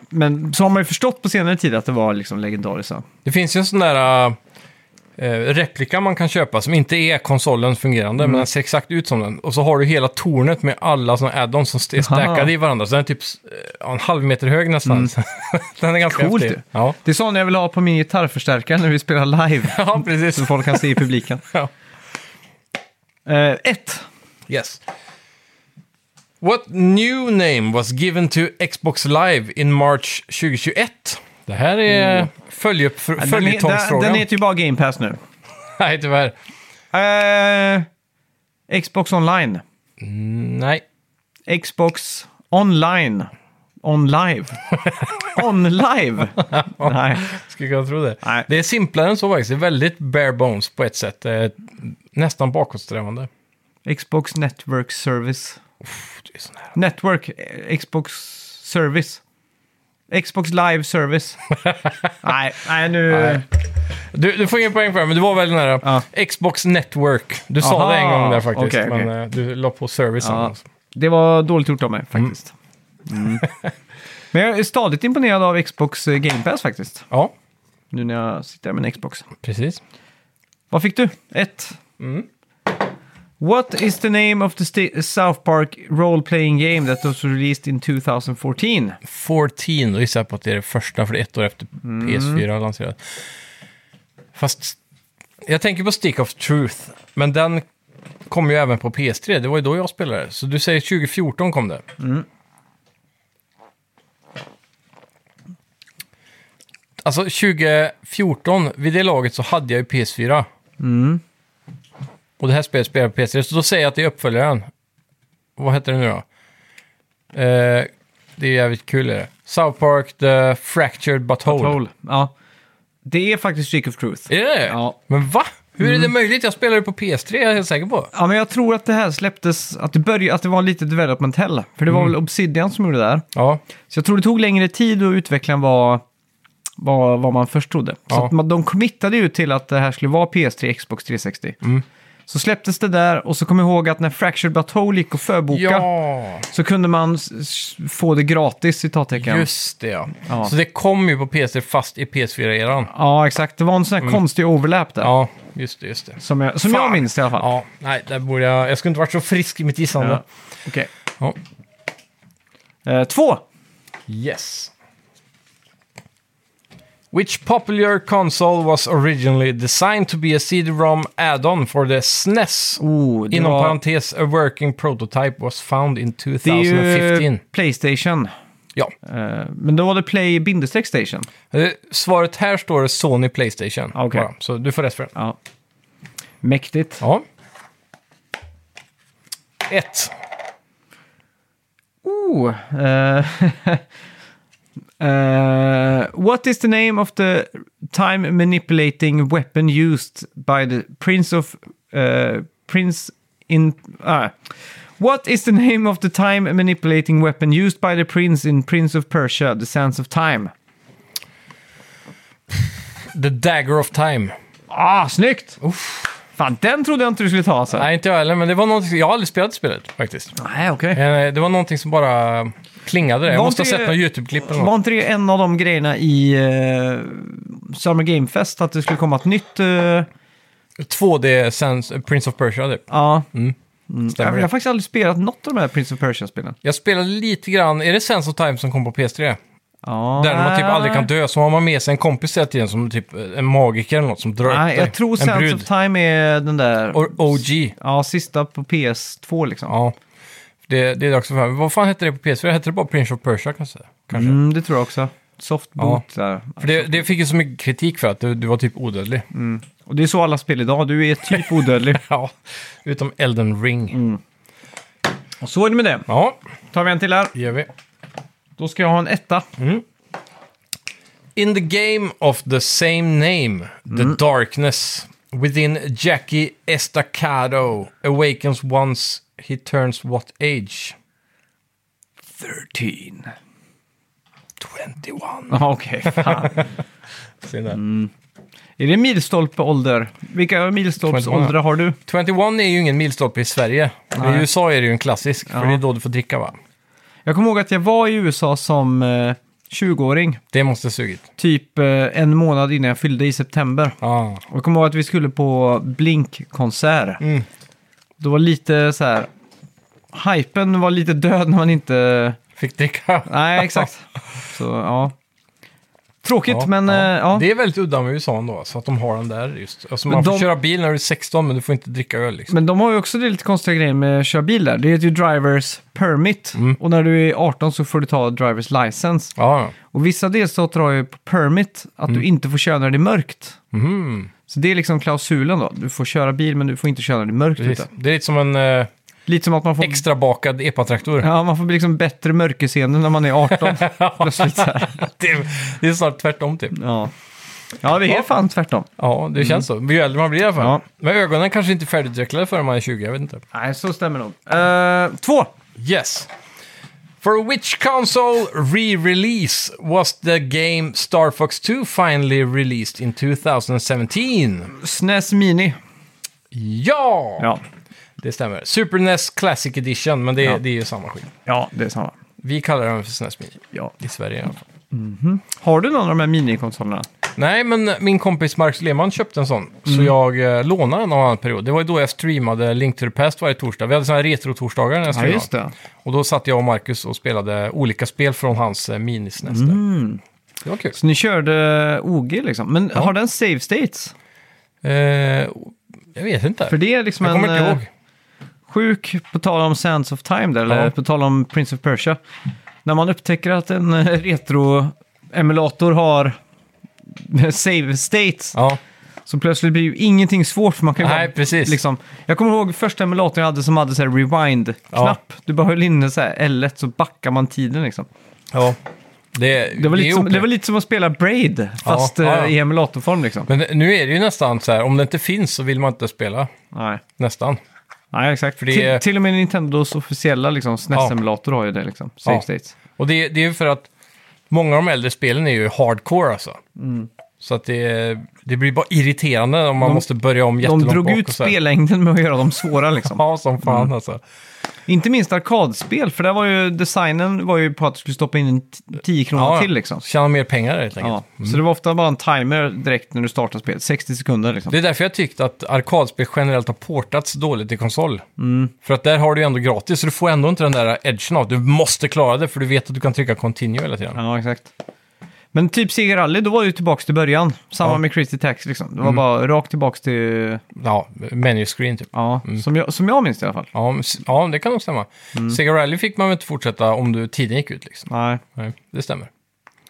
men så har man ju förstått på senare tid att det var liksom legendariskt. så. Det finns ju en sån där eh, replika man kan köpa som inte är konsolens fungerande, Mm. men den ser exakt ut som den. Och så har du hela tornet med alla såna add-ons som st- är stackade i varandra. Så den är typ eh, ja, en halv meter hög nästan. den är ganska Mm. Coolt häftig. ju. Ja. Det är sån jag vill ha på min gitarrförstärkare när vi spelar live. ja, precis. så folk kan se i publiken. Ja. Eh, ett. Yes. What new name was given to Xbox Live in March 2021? Det här är mm. Oh. Den, den, den följetongsfrågan. heter ju bara Game Pass nu. Nej, tyvärr. Eh, Xbox online. Nej. Xbox online. On live. On live! Nej. Skulle kunna tro det. Nej. Det är simplare än så faktiskt. Det är väldigt bare bones på ett sätt. Eh, Nästan bakåtsträvande. Xbox Network Service. Det är så nära. Network, eh, Xbox Service. Xbox Live Service. nej, nej nu... Nej. Du, du får ingen poäng för det, men du var väldigt nära. Ja. Xbox Network. Du sa Aha. det en gång där faktiskt, Okej, okej. men eh, du la på servicen. Ja, alltså. det var dåligt gjort av mig faktiskt. Mm. Men jag är stadigt imponerad av Xbox eh, Game Pass faktiskt. ja Nu när jag sitter här med en Xbox. precis. Vad fick du? Ett. Mm. What is the name of the sti- South Park role-playing game that was released in 2014? 14, då gissar jag på att det är det första, för det är ett år efter Mm. PS4 lanserades. Fast jag tänker på Stick of Truth, men den kom ju även på PS3. Det var ju då jag spelade. Så du säger 2014 kom det. Alltså 2014, vid det laget så hade jag ju PS4. Och det här spelet spelar jag på PS3, så då säger jag att det är uppföljaren. Vad heter det nu då? Eh, det är jävligt kul är det. South Park, The Fractured Butthole. Roll. Ja. Det är faktiskt Stick of Truth. Är det det? Ja. Men va? Hur Mm. är det möjligt? Jag spelade på PS3, jag är helt säker på. Ja, men jag tror att det här släpptes, att det, började, att det var lite development hell. För det Mm. var väl Obsidian som gjorde det där. Ja, Så jag tror det tog längre tid att utveckla än vad, vad, vad man först trodde. Så Ja. Mm. att man, de committade ju till att det här skulle vara PS3, Xbox 360. Så släpptes det där och så kom jag ihåg att när Fractured But Whole gick och förboka Ja, så kunde man s- s- få det gratis, citattecken. just det ja. Ja. Så det kom ju på PC fast i PS4-eran. Ja, exakt. Det var en sån här konstig overlap där. Mm. Ja, just det, just det. Som, jag, som jag Fan. minns det i alla fall. Ja, nej, där borde jag... Jag skulle inte varit så frisk i mitt gissande. Okej. Ja. Eh, två! Yes. Which popular console was originally designed to be a CD-ROM add-on for the SNES? Oh, det, Inom var, parentes, a working prototype was found in det är ju 2015. eh, Playstation. Ja. Eh, men då var det Play bindestreck Station. Eh, Svaret här står det Sony Playstation. Okej. bara, så du får rätt för den. Ja. Mäktigt. Ja. Ett. Ooh, eh, eh, what is the name of the time manipulating weapon used by the Prince of eh, Prince in ah. What is the name of the time manipulating weapon used by the prince in Prince of Persia, The Sands of Time? The Dagger of Time. Ah, snyggt! Fan, den trodde jag inte du skulle ta alltså. Nej, inte jag heller, men det var någonting... Jag har aldrig spelat spelet faktiskt. Nej, okej. Eh, Det var någonting som bara klingade där. Jag Var måste ha inte sett det- något YouTube-klipp eller något. Var inte det en av de grejerna i eh, Summer Game Fest, att det skulle komma ett nytt... eh, 2D Sands, Prince of Persia typ. ja, Mm. Jag, Stämmer jag har det? faktiskt aldrig spelat något av de här Prince of Persia-spelen. Jag spelade lite grann, är det Sands of Time som kom på PS3? Ja. Där man typ aldrig kan dö, så har man med sig en kompis hela tiden som typ en magiker eller något som drar upp Nej, dig. jag tror en Sands brud. of Time är den där... Och OG. Ja, sista på PS2 liksom. Ja, det, det är dags för Vad fan hette det på PS4? Hette det bara Prince of Persia kan jag säga? Kanske. Mm, det tror jag också. Softboot där. För det, det fick ju så mycket kritik för att du, du var typ odödlig. Och det är så alla spel idag, du är typ odödlig. Ja, utom Elden Ring. Och så är det med det. Ja, Tar vi en till här. det gör vi. Då ska jag ha en etta. Mm. In the game of the same name, the darkness within Jackie Estacado awakens once he turns what age? 13. 21. Ja, okej. Fan. Se där. är det milstolpe ålder? Vilka milstolpsåldrar har du? 21 är ju ingen milstolpe i Sverige. Nej. I USA är det ju en klassisk, för det är då du får dricka va? Jag kommer ihåg att jag var i USA som eh, 20-åring. Det måste ha sugit. Typ eh, en månad innan jag fyllde i september. Ah. Och jag kommer ihåg att vi skulle på Blink-konsert. Mm. Det var lite så här... Hypen var lite död när man inte... Fick dricka. Nej, exakt. Så, ja. Tråkigt, Ja, men... eh, Ja. Det är väldigt udda med USA ändå, så att de har den där just. Alltså, Men man de- får köra bil när du är 16, men du får inte dricka öl liksom. Men de har ju också det lite konstiga grejen med att köra bil där. Det heter ju drivers permit. Mm. Och när du är 18 så får du ta drivers license. Ja, ja. Och vissa delstater har ju på permit att Mm. du inte får köra när det är mörkt. Mhm. Så det är liksom klausulen då. Du får köra bil men du får inte köra när det är mörkt Precis. ute. Det är lite som en eh, Lite som att man får... extra bakad epatraktor. Ja, man får bli liksom bättre mörkerseende när man är 18. Plötsligt så här. det, är, det är snart tvärtom typ. Ja. ja, vi är fan tvärtom. Ja, det känns så. Ju äldre man blir i alla fall. Mm. Ja. Men ögonen kanske inte är färdigutvecklade förrän man är 20, jag vet inte. Nej, så stämmer nog. Eh, två! Yes. For which console re-release was the game Star Fox 2 finally released in 2017? SNES Mini. Ja! Ja, Det stämmer. Super NES Classic Edition, men det, Ja. det är ju samma skit. ja det är samma. Vi kallar den för SNES Mini. Ja. I Sverige i alla fall. Har du någon av de här minikonsolerna? Nej, men min kompis Marcus Lehmann köpte en sån. Så Mm. jag eh, lånade den av en annan period. Det var ju då jag streamade Link to the Past varje torsdag. Vi hade såna här retro-torsdagar när jag streamade. det. Och då satt jag och Marcus och spelade olika spel från hans eh, minisnäs där. Mm. Det var kul. Så ni körde OG liksom. Men har den save states? Eh, jag vet inte. För det är liksom jag en kommer inte eh, ihåg. sjuk, på tal om Sands of Time där, eller Ja. på tal om Prince of Persia. När man upptäcker att en eh, retro-emulator har save states Ja, Så plötsligt blir ju ingenting svårt för man kan ju Nej, bara, precis. Liksom, jag kommer ihåg första emulatorn jag hade som hade så här rewind-knapp. Du bara höll inne så här L1 så backar man tiden liksom. ja. Det, Det var, det lite är som, OP. det var lite som att spela Braid, fast Ja, eh, ja, ja. i emulatorform liksom. Men nu är det ju nästan så här, om det inte finns så vill man inte spela. Nej, Nästan. Nej exakt. det till, är- till och med Nintendos officiella liksom, SNES-emulator har ju det liksom. Save Ja. states. Och det, det är ju för att många av de äldre spelen är ju hardcore alltså. Så att det, det blir bara irriterande om man Mm. De- måste börja om De jättelångt drog bak ut och så här. spellängden med att göra dem svåra liksom. Ja, som fan alltså. Inte minst arkadspel, för där var ju designen var ju på att du skulle stoppa in en t- 10 kronor Ja, till liksom. Tjäna mer pengar helt Mm. enkelt. Ja. Så det var ofta bara en timer direkt när du startar spelet, 60 sekunder liksom. Det är därför jag tyckte att arkadspel generellt har portats dåligt till konsol. Mm. För att där har du ju ändå gratis, så du får ändå inte den där edgen av. Du måste klara det, för du vet att du kan trycka continue hela tiden. Ja, exakt. Men typ Seger Rally, då var det ju tillbaka till början. Samma Ja. Mm. med Crazy Taxi liksom. Det var bara rakt tillbaka till... Ja, menu screen typ. Ja, som, jag, som jag minns det i alla fall. Ja, men s- ja det kan nog stämma. Mm. Sega Rally fick man väl inte fortsätta om du tiden gick ut liksom. Nej. Nej, det stämmer.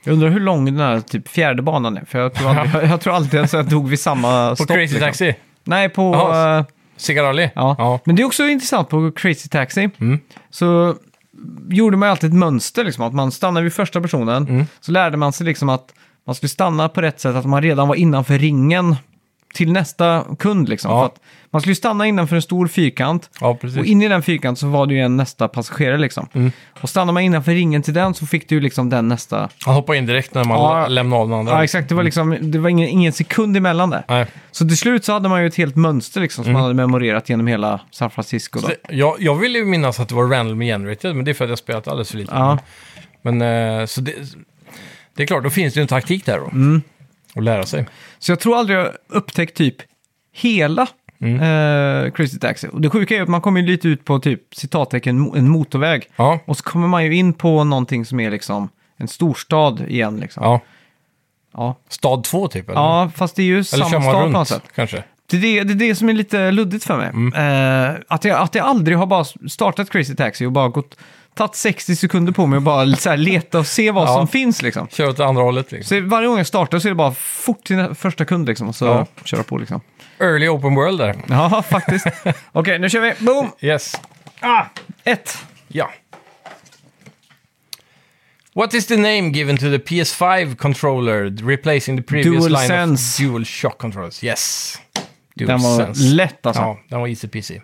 Jag undrar hur lång den här typ fjärde banan är. För jag tror aldrig, jag, jag tror alltid att jag dog vid samma På stopp. Crazy liksom. Taxi, Nej, på... Jaha. eh, Sega Rally. Ja. ja. Mm. men det är också intressant på Crazy Taxi. Så gjorde man ju alltid ett mönster, liksom, att man stannade vid första personen. Mm. Så lärde man sig liksom att man skulle stanna på rätt sätt, att man redan var innanför ringen till nästa kund. Liksom. Ja. För att man skulle stanna innanför en stor fyrkant. Ja, precis. Mm. Och in i den fyrkanten så var det ju en nästa passagerare liksom. Och stannade man innanför ringen till den så fick du ju liksom den nästa. Han hoppar in direkt när man Ja. lämnar av den andra. Ja exakt, det var liksom, det var ingen, ingen sekund emellan där. Nej. Mm. Så till slut så hade man ju ett helt mönster liksom som man hade memorerat genom hela San Francisco. Då. Det- Jag, jag ville ju minnas att det var random generated, men det är för att jag spelat alldeles för lite. Ja. Men eh, så det, det är klart, då finns det ju en taktik där då. Mm. Att lära sig. Så jag tror aldrig jag upptäckt typ hela mm. Crazy Taxi. Och det sjuka är ju att man kommer ju lite ut på typ citattecken mo- en motorväg. Ja, Och så kommer man ju in på någonting som är liksom en storstad igen liksom. ja. Ja, Stad 2 typ? Eller, ja fast det är ju eller kör samma man stad på något runt Mm. sätt. kanske? Det är det, det är det som är lite luddigt för mig. Eh, att, jag, att jag aldrig har bara startat Crazy Taxi och bara gått, tagit 60 sekunder på mig och bara så här leta och se vad Ja. som finns liksom. Kör åt andra hållet liksom. Så varje gång jag startar så är det bara fort till nä- första kund liksom och så Ja. köra på liksom. Early open world där. Ja, faktiskt. Okej, nu kör vi. Boom! Ah, Yes. Ett. Ja. What is the name given to the PS5 controller replacing the previous line of DualSense. dual shock controllers? Yes. Den var lätt alltså. Ja, den var easy peasy.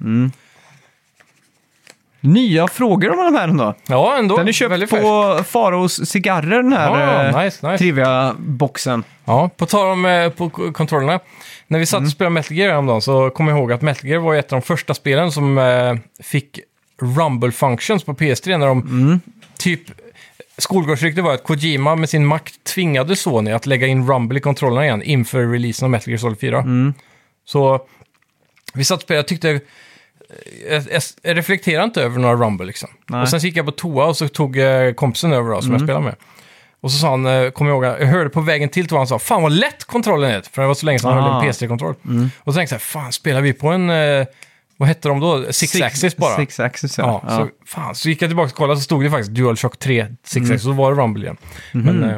Nya frågor om de här ändå. Ja, ändå. Den är köpt Väldigt på fräsch. Faraos cigarrer, den här Ja, eh, nice, nice. trivia-boxen. Ja, på tal om eh, på k- kontrollerna. När vi satt och spelade Metal Gear häromdagen så kom jag ihåg att Metal Gear var ett av de första spelen som eh, fick rumble functions på PS3 när de typ... Skolgårdsryktet var att Kojima med sin makt tvingade Sony att lägga in rumble i kontrollerna igen inför releasen av Metal Gear Solid 4. Så vi satt och spelade, jag tyckte... eh, Jag, jag, jag reflekterade inte över några rumble liksom. Nej. Och sen så gick jag på toa och så tog eh, kompisen över då, som jag spelade med. Och så sa han, eh, kommer jag ihåg, jag hörde på vägen till toan, han sa fan vad lätt kontrollen är, för det var så länge sedan han Ah. höll en PS3-kontroll. Och så tänkte jag, fan spelar vi på en, eh, vad hette de då, Six, Axis bara? Six axis, Ja, ja. Så, fan, så gick jag tillbaka och kollade så stod det faktiskt DualShock 3 Six Mm. Axis, så var det Rumble igen. Men eh,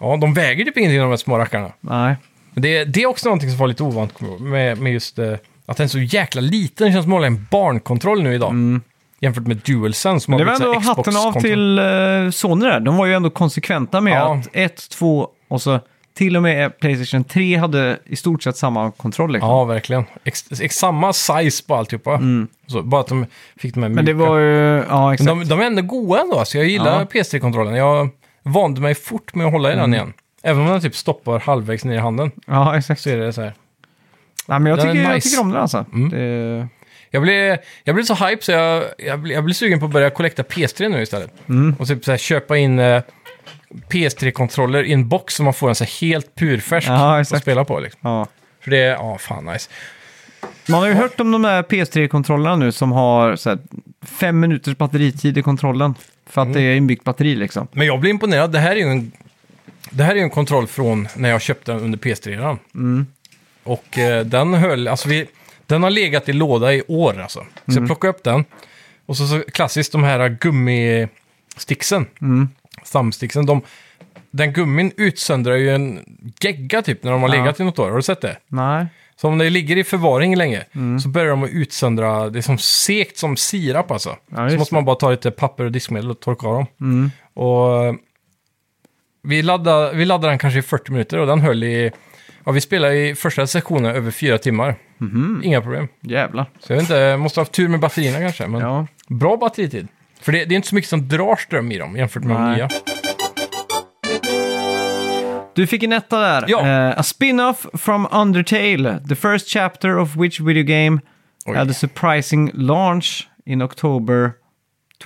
ja, de väger typ ingenting de här små rackarna. Nej. Men Det, det är också någonting som var lite ovant kommer jag ihåg, med, med just eh, att den är så jäkla liten, det känns som att hålla en barnkontroll nu idag. Jämfört med DualSense som Mm. Det var blivit så ändå här hatten av Xbox-kontroll. till eh, Sony där. De var ju ändå konsekventa med Ja. att 1, 2 och så till och med Playstation 3 hade i stort sett samma kontroll. Liksom. Ja, verkligen. Ex ex samma size på alltihopa. Mm. Så, bara att de fick de här Men det mjuka. var ju... Ja, Men exakt. de, de är ändå goa ändå, så jag gillar Ja. Mm. PS3-kontrollen. Jag vande mig fort med att hålla i den igen. Även om den typ stoppar halvvägs ner i handen Ja, exakt. så är det så här. Nej, men jag Den tycker, är jag nice. Mm. tycker om den alltså. Det, Jag blev, jag blev så hype så jag, jag, blev, jag blev sugen på att börja kollekta PS3 nu istället. Mm. Och typ så här, köpa in eh, PS3-kontroller i en box som man får en så här helt purfärsk Ja, att exakt. spela på. Liksom. ja. För det är, ja, fan nice. Man har ju hört om de här PS3-kontrollerna nu som har så här, fem minuters batteritid i kontrollen. För att det är inbyggt batteri liksom. Men jag blir imponerad. Det här är ju en, det här är ju en kontroll från när jag köpte den under PS3. -an. Och eh, den höll, alltså vi, den har legat i låda i år alltså. Så jag plockade upp den. Och så, så klassiskt de här gummisticksen. Mm. Thumbsticksen. De, den gummin utsöndrar ju en gegga typ när de har Ja. legat i något år. Har du sett det? Nej. Så om det ligger i förvaring länge Mm. så börjar de att utsöndra, det är som sekt som sirap alltså. Ja, just Mm. så måste man bara ta lite papper och diskmedel och torka av dem. Och eh, vi laddade, vi laddade den kanske i 40 minuter och den höll i, ja vi spelade i första sessionen över fyra timmar. Mhm. Inga problem. Jävlar. Så jag vet inte, jag måste ha haft tur med batterierna kanske. Men Ja. bra batteritid. För det, det är inte så mycket som drar ström i dem jämfört med de Nej. nya. Du fick en etta där. Ja. Eh, a spin-off from Undertale, the first chapter of which video game Oj. had a surprising launch in October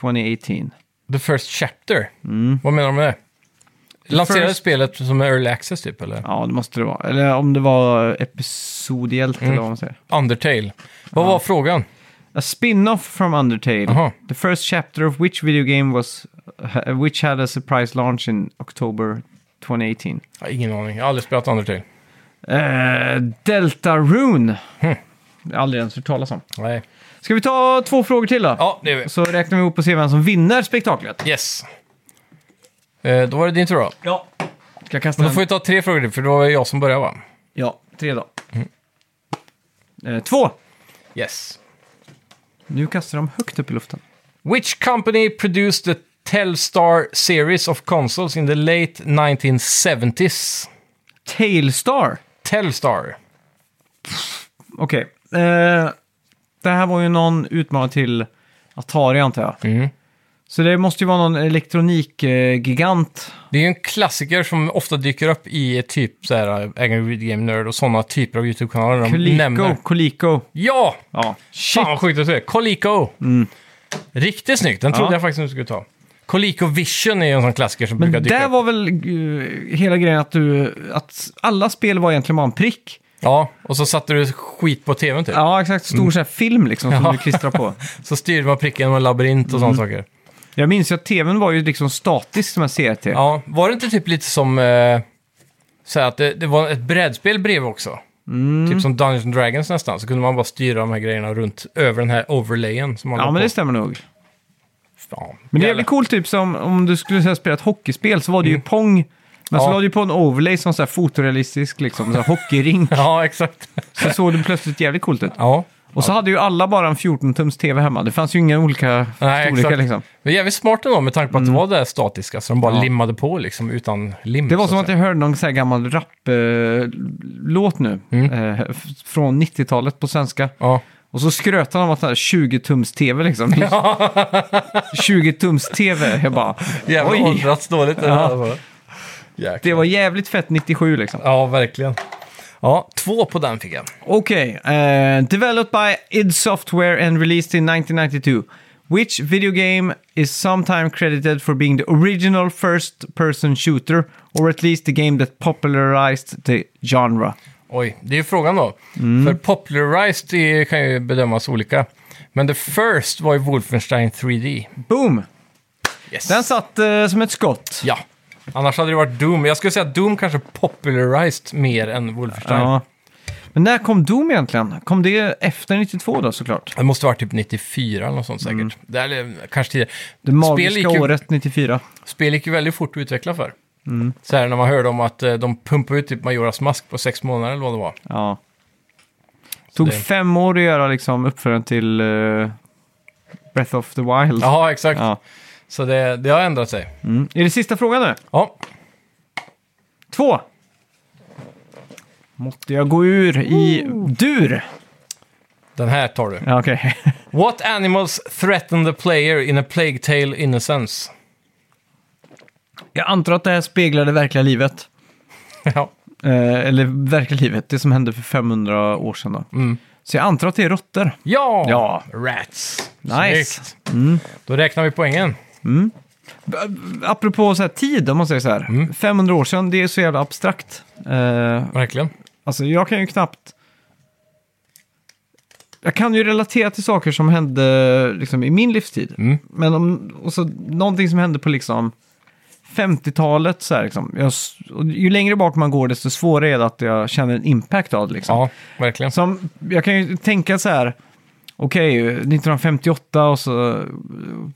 2018. The First Chapter. Vad menar de med det? Lanserade Mm. first- spelet som early access typ, eller? Ja, det måste det vara. Eller om det var episodiellt eller vad man säger. Undertale. Vad var frågan? A spin-off from Undertale, Aha. the first chapter of which video game was ha- which had a surprise launch in October 2018. Jag har ingen aning. Jag har aldrig spelat Undertale. Eh, Delta Rune. Hm. Aldrig ens hört talas om. Nej. Ska vi ta två frågor till då? Ja, det är vi. Så räknar vi ihop och ser vem som vinner spektaklet. Yes. Eh, då var det din tur då. Ja. Ska jag kasta Då en? får vi ta tre frågor till, för det var jag Mm. som började va? Ja, tre då. Eh, två! Yes. Nu kastar de högt upp i luften. Which company produced the Telstar series of consoles in the late 1970s? Tailstar. Telstar. Okej. Eh, det här var ju någon utmanare till Atari antar jag. Mm. Så det måste ju vara någon elektronikgigant. Det är ju en klassiker som ofta dyker upp i typ så här Angry Video Game Nerd och sådana typer av YouTube-kanaler. De Coleco. nämner. Coleco. Ja! Ja. Fan vad sjukt att säga. Coleco. Riktigt snyggt. Den trodde Mm. Ja. jag faktiskt inte skulle ta. Coleco Vision är ju en sån klassiker som brukar Men dyka där upp. var väl eh, hela grejen att, du, att alla spel var egentligen bara en prick. Ja, och så satte du skit på tvn typ. Ja, exakt. Stor så här film liksom som du klistrar på. Så styrde man pricken med en labyrint och Mm. sådana saker. Jag minns ju att tvn var ju liksom statisk som jag ser till. Ja, var det inte typ lite som... Eh, så här att det, det var ett brädspel bredvid också? Mm. Typ som Dungeons and Dragons nästan. Så kunde man bara styra de här grejerna runt över den här overlayen som man la Ja, men på. det stämmer nog. Fan. Men det är Jävlar. jävligt coolt, typ som om du skulle så här, spela ett hockeyspel så var det ju pong. Men så Mm. Ja. la du på en overlay som så här fotorealistisk, liksom, så här hockeyring. Ja, exakt. så såg det plötsligt jävligt coolt ut. Ja. Och så hade ju alla bara en 14-tums tv hemma. Det fanns ju inga olika Nej, storlekar exakt. liksom. Men jävligt smart ändå med tanke på att det var det här statiska. Så de bara limmade på liksom utan lim. Mm. Det var så som att säga. jag hörde någon så här gammal rap-låt nu. Mm. Eh, f- från 90-talet på svenska. Ja. Och så skröt han om att det här 20-tums-tv liksom. 20-tums-tv. Jag bara, Jävla oj. åldrats dåligt. det här, alltså. Det Jäklar. var jävligt fett 97 liksom. Ja, verkligen. Ja, två på den fick jag. Okej, eh, developed by id Software and released in 1992. Which video game is sometimes credited for being the original first-person shooter, or at least the game that popularized the genre? Oj, det är ju frågan då. Mm. För popularized det kan ju bedömas olika. Men the first var ju Wolfenstein 3D. Boom! Yes. Den satt eh, som ett skott. Ja. Annars hade det varit Doom. Jag skulle säga att Doom kanske popularized mer än Wolfenstein. Ja. Men när kom Doom egentligen? Kom det efter 92 då såklart? Det måste ha varit typ 94 eller något sånt säkert. Det här är kanske tidigare. Mm. Det Spel magiska gick ju- året 94. Spel gick ju väldigt fort att utveckla för. Mm. Så här när man hörde om att eh, de pumpade ut typ Majoras mask på sex månader eller vad det var. Ja. Tog det- fem år att göra liksom uppföljaren till eh, Breath of the Wild. Jaha, exakt. Ja. Så det, det har ändrat sig. Mm. Är det sista frågan nu? Ja, Två. Måtte jag gå ur i dur? den här tar du. Ja, okej. What animals threaten the player in a plague tale innocence? Jag antar att det här speglar det verkliga livet. ja. Eh, eller verkliga livet, det som hände för 500 år sedan då. Så jag antar att det är råttor. Ja! Ja. Rats. Nice. Mm. Snyggt. Då räknar vi poängen. Apropå så här tid, om man säger så här. 500 år sedan, det är så jävla abstrakt. Eh, Verkligen. alltså jag kan ju knappt... Jag kan ju relatera till saker som hände liksom, i min livstid. Mm. Men om, och så, någonting som hände på liksom 50-talet, så här, liksom. jag, s- och ju längre bak man går desto svårare är det att jag känner en impact av det. Liksom. Ja, verkligen. Som, jag kan ju tänka så här, okej, 1958 och så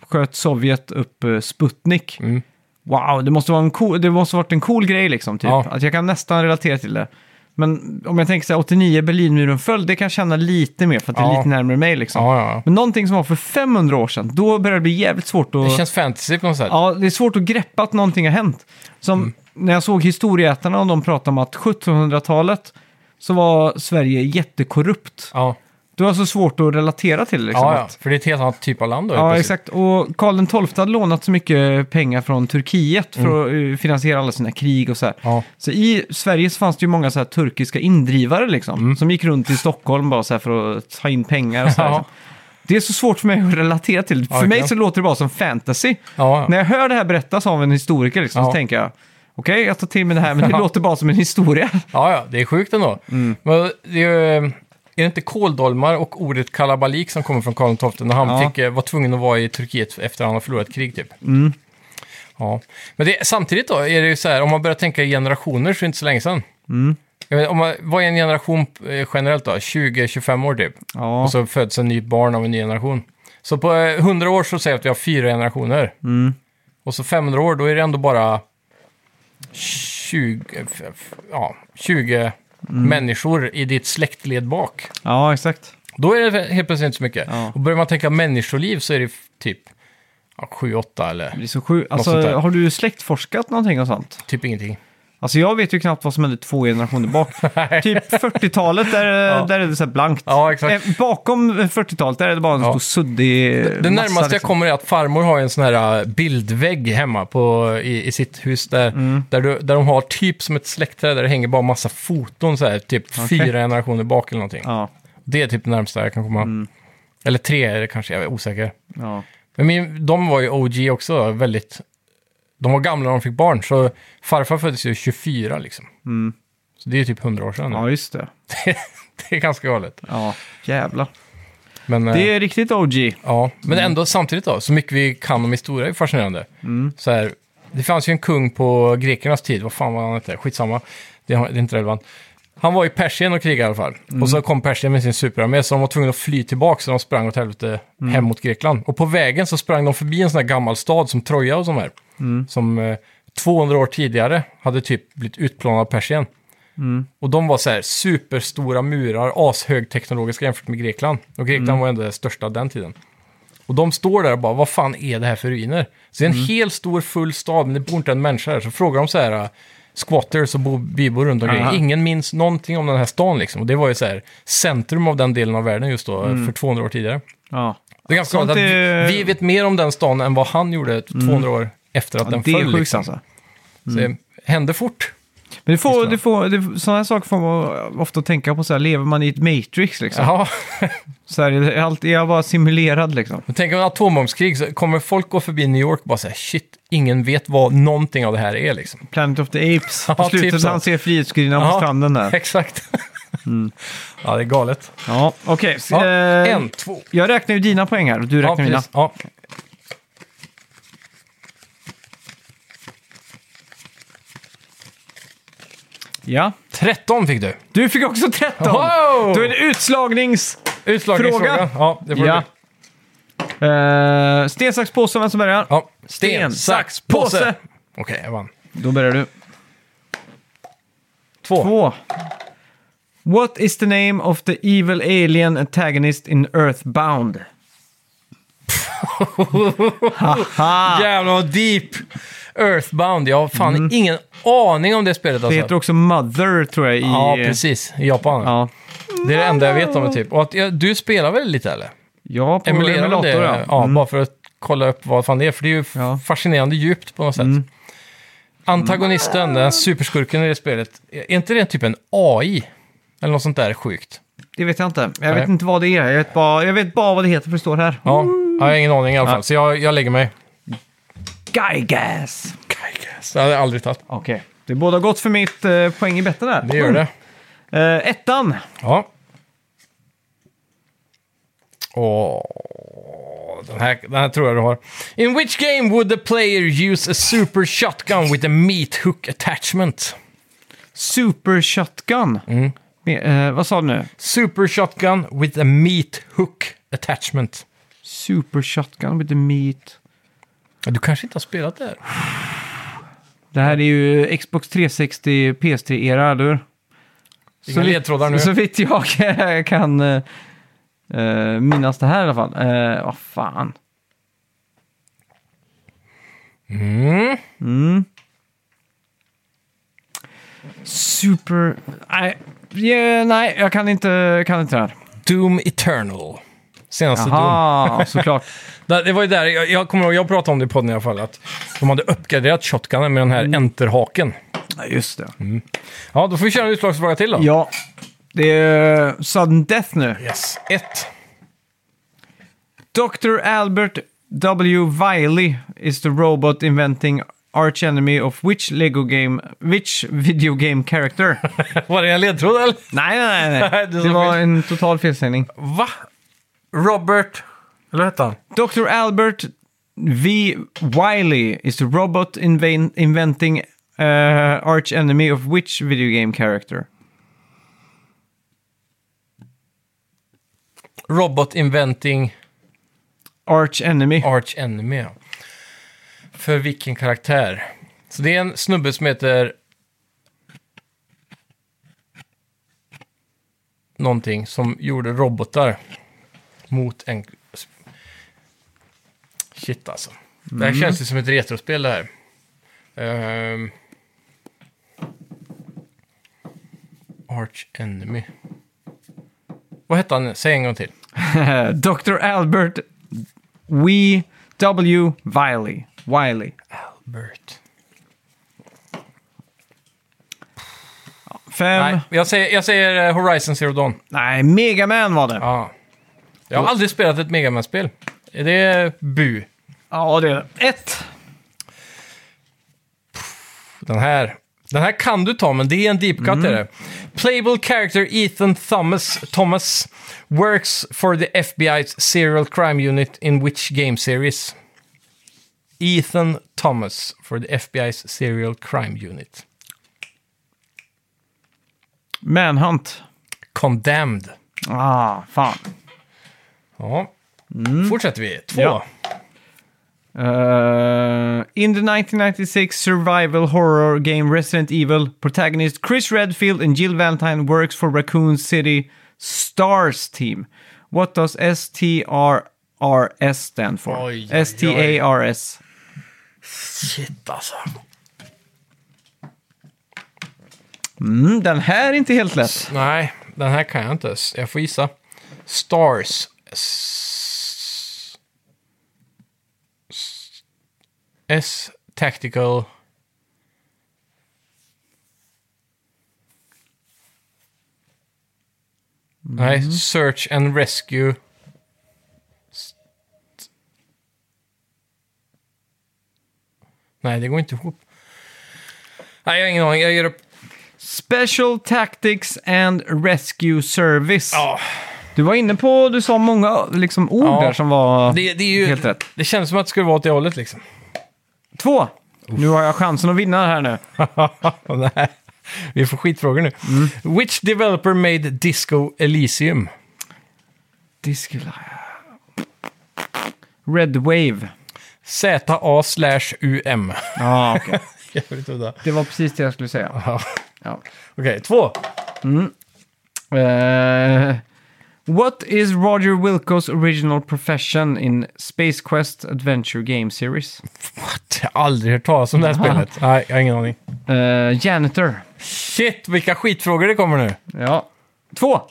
sköt Sovjet upp eh, Sputnik. Mm. Wow, det måste, vara en cool, det måste varit en cool grej liksom, typ. Ja. Att jag kan nästan relatera till det. Men om jag tänker så här, 89, Berlinmuren föll, det kan jag känna lite mer för att det är Ja. lite närmare mig liksom. Ja, ja, ja. Men någonting som var för 500 år sedan, då börjar det bli jävligt svårt att... Det känns fantasy på något sätt. Ja, det är svårt att greppa att någonting har hänt. Som Mm. när jag såg historieätarna och de pratade om att 1700-talet så var Sverige jättekorrupt. Ja. Du har så svårt att relatera till det, liksom. ja, ja, att, för det är ett helt annat typ av land då. helt ja plötsligt. exakt. Och Karl XII hade lånat så mycket pengar från Turkiet för att eh, finansiera alla sina krig och så här. Mm. Ja. Så i Sverige så fanns det ju många så här turkiska indrivare liksom, som gick runt i Stockholm bara så här för att ta in pengar och så här, Mm. Ja. liksom. Det är så svårt för mig att relatera till. För Ja, mig okej. så låter det bara som fantasy. Ja, När jag hör det här berättas av en historiker liksom, så Ja. tänker jag okej, jag tar till mig det här, men det låter bara som en historia. ja, ja, det är sjukt ändå. Men det är, ju- eh, är det inte kåldolmar och ordet kalabalik som kommer från Karl XII när han Ja. fick, eh, var tvungen att vara i Turkiet efter han har förlorat krig typ? Ja. Men det, samtidigt då, är det ju så här, om man börjar tänka i generationer så är det inte så länge sedan. Jag vet, om man, vad är en generation eh, generellt då? 20-25 år typ? Ja. Och så föds en ny barn av en ny generation. Så på eh, 100 år så säger jag att vi har fyra generationer. Och så 500 år, då är det ändå bara 20, f- f- ja, 20 människor i ditt släktled bak. ja, exakt. Då är det helt plötsligt inte så mycket. Ja. Och börjar man tänka människoliv så är det f- typ ja, 7-8 Det eller är så sjukt. sånt där. Alltså, har du släktforskat någonting och sånt? typ ingenting. Alltså jag vet ju knappt vad som hände två generationer bak. typ 40-talet, där, där är det så här blankt. Ja, exakt. Eh, Bakom 40-talet, där är det bara en Ja. stor suddig eh, Det massa, närmaste jag liksom. kommer är att farmor har en sån här äh, bildvägg hemma på, i, i sitt hus där, Mm. där, du, där de har typ som ett släktträd där det hänger bara massa foton så här, typ fyra generationer bak eller någonting. Ja, Mm. Det är typ det närmsta jag kan komma. Eller tre är det kanske, jag är osäker. ja. Men min, de var ju OG också, väldigt... De var gamla när de fick barn, så farfar föddes ju 24 liksom. Så det är ju typ 100 år sedan. Mm. ja, just det. Det är ganska galet. Ja, jävlar. Men, eh, Det är riktigt OG. Ja, men ändå samtidigt då, så mycket vi kan om historia är fascinerande. Så här, det fanns ju en kung på grekernas tid, vad fan var han hette? Skitsamma, det har- det är inte relevant. Han var i Persien och krigade i alla fall. Och så kom Persien med sin superarmé, så de var tvungna att fly tillbaka, så de sprang åt helvete hem mot Grekland. Och på vägen så sprang de förbi en sån här gammal stad som Troja och sån här. Som eh, 200 år tidigare hade typ blivit utplånad av Persien. Och de var så här superstora murar, ashögteknologiska jämfört med Grekland. Och Grekland Mm. var ändå det största den tiden. Och de står där och bara, vad fan är det här för ruiner? Så det är Mm. en hel stor full stad, men det bor inte en människa här. Så frågar de så här, äh, squatters och bo- bybor runt omkring. Aha. Ingen minns någonting om den här stan liksom. Och det var ju så här, centrum av den delen av världen just då, för 200 år tidigare. Ja. Det är ganska Mm. Sånt galet att är- Mm. vi, vi vet mer om den stan än vad han gjorde 200 år efter att Ja, den det är föll. sjukt Liksom. alltså. Så det hände fort. Men det får, Just det. det får, det, sådana här saker får man ofta tänka på. Så här, lever man i ett matrix liksom? Jaha. Så här, är, allt, är jag bara simulerad liksom? Men tänk om en atombombskrig så kommer folk gå förbi New York och bara säga shit, ingen vet vad någonting av det här är liksom. Planet of the Apes. Ja, På slutet typ så. när han ser frihetsgudinnan Ja. på stranden där. Exakt. Ja, det är galet. Ja, okej. s- Ja, eh, en, två. Jag räknar ju dina poäng här. Du Ja, räknar mina. precis. Ja. Ja. 13 fick du. Du fick också 13! Wow! Då är det utslagnings... Utslagningsfråga. Fråga. Ja, det får Ja. du. Uh, sten, sax, påse, vem som börjar? Ja. Sten, sax, påse. Okej, jag vann. Då börjar du. Två. Två. What is the name of the evil alien antagonist in Earthbound? Haha! Jävlar vad Ah. deep! Earthbound, jag har fan Mm. ingen aning om det spelet Det alltså. heter också Mother, tror jag, i... Ja, precis. I Japan. Ja, Det är det enda jag vet om det typ. Och att, ja, du spelar väl lite eller? ja på Emulerar väl emulator, det? ja. Mm. ja bara för att kolla upp vad fan det är. För det är ju f- Ja. Mm. fascinerande djupt på något sätt. Antagonisten, den här superskurken i det spelet, är inte det typ en AI? Eller något sånt där sjukt? Det vet jag inte. Jag Nej. vet inte vad det är. Jag vet bara, jag vet bara vad det heter, för det står här. Ja, jag har ingen aning i alla fall. Så jag, jag lägger mig. Gygas! Så jag hade aldrig tagit. Okej. Det är båda gott för mitt eh, poäng i betten här. Det gör det. Eh, ettan. Ja. Åh, den här, den här tror jag du har. In which game would the player use a super shotgun with a meat hook attachment? Super Shotgun. Mm. Med, eh, vad sa du nu? Super shotgun with a meat hook attachment. Super Shotgun with the meat. Ja, Du kanske inte har spelat det här? Det här är ju Xbox 360 PS3-era, eller hur? Inga vitt- ledtrådar nu. Så vitt jag kan eh, eh, minnas det här i alla fall. Eh, Vad fan. Mm. Super... Nej, yeah, nej jag kan inte, kan inte det här. Doom Eternal. Senaste Doom. Jaha, Ah, såklart. Där- Det var ju där, jag, jag kommer ihåg, jag pratade om det i podden i alla fall, att de hade uppgraderat shotgunen med den här enterhaken. Ja, just det. Ja, då får vi köra en utslagsfråga till då. Ja, det är sudden death nu. Yes. Ett. Dr. Albert W. Wiley is the robot inventing arch enemy of which Lego game, which video game character? Var det en ledtråd eller? nej, nej, nej. nej. Det är så Det var fel. en total felsägning. Va? Robert... Eller vad hette han? Dr. Albert V. Wiley is the robot inven- inventing uh, arch enemy of which video game character? Robot Inventing Arch enemy. Arch Enemy. ja. För vilken karaktär? Så det är en snubbe som heter... Någonting som gjorde robotar mot en... Shit alltså. Det här känns ju som ett retrospel det här. Ehm. Arch Enemy. Vad hette han? Säg en gång till. Oh. Dr. Albert V. W. Wiley. Wiley. Albert. Fem. Nej, Nej, jag säger, jag säger eh, Horizon Zero Dawn. Nej Mega Man var det. Ja. Jag har aldrig spelat ett Mega man spel Är det bu? Ja, det är det. Ett. Den här. Den här kan du ta, men det är en deep cut. Är det. Playable character Ethan Thomas, Thomas works for the FBI's serial crime unit in which game series? Ethan Thomas for the FBI's serial crime unit. Manhunt. Condemned. Ah, fan. Ja. Fortsätter vi. Två. Ja. Uh, in the 1996 survival horror game Resident Evil, protagonist Chris Redfield and Jill Valentine works for Raccoon City Stars team. What does STRRS stand for? Oj, oj, oj. S-T-A-R-S. Shit alltså. Mm, den här är inte helt lätt. Nej, den här kan jag inte. S- Jag får gissa. Stars. S... S- S Tactical. Nej, Search and Rescue. S- Nej, det går inte ihop. Nej, jag har ingen aning. Jag ger upp. Special Tactics and Rescue Service. Ja. Du var inne på, du sa många liksom, ord Ja. där som var Det, det, är ju, helt rätt. det känns som att det skulle vara åt det hållet liksom. Två! Nu har jag chansen att vinna här nu. Nej, vi får skitfrågor nu. Mm. Which developer made Disco Elysium? Discula. Red Wave. ZA slash UM. Ja, okej. Jävligt udda. Det var precis det jag skulle säga. Ja. Ja. Okej, två. Eh, what is Roger Wilcos original profession in Space Quest Adventure Game Series? What? Jag har aldrig hört talas om det här spelet. Nej, jag har ingen aning. Eh, janitor. Shit, vilka skitfrågor det kommer nu. Ja. Två!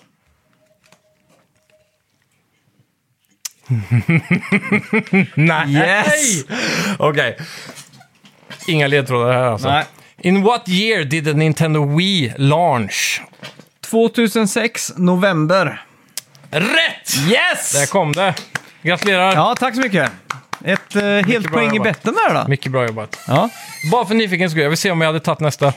Nej! Yes! Okej. Inga ledtrådar här alltså. Nej. In what year did the Nintendo Wii launch? 2006, november. Rätt! Yes! Där kom det. Gratulerar! Ja, tack så mycket. Ett eh, helt bra poäng i jobbat. betten där då. Mycket bra jobbat. Ja. Bara för nyfiken skull, jag vill se om jag hade tagit nästa.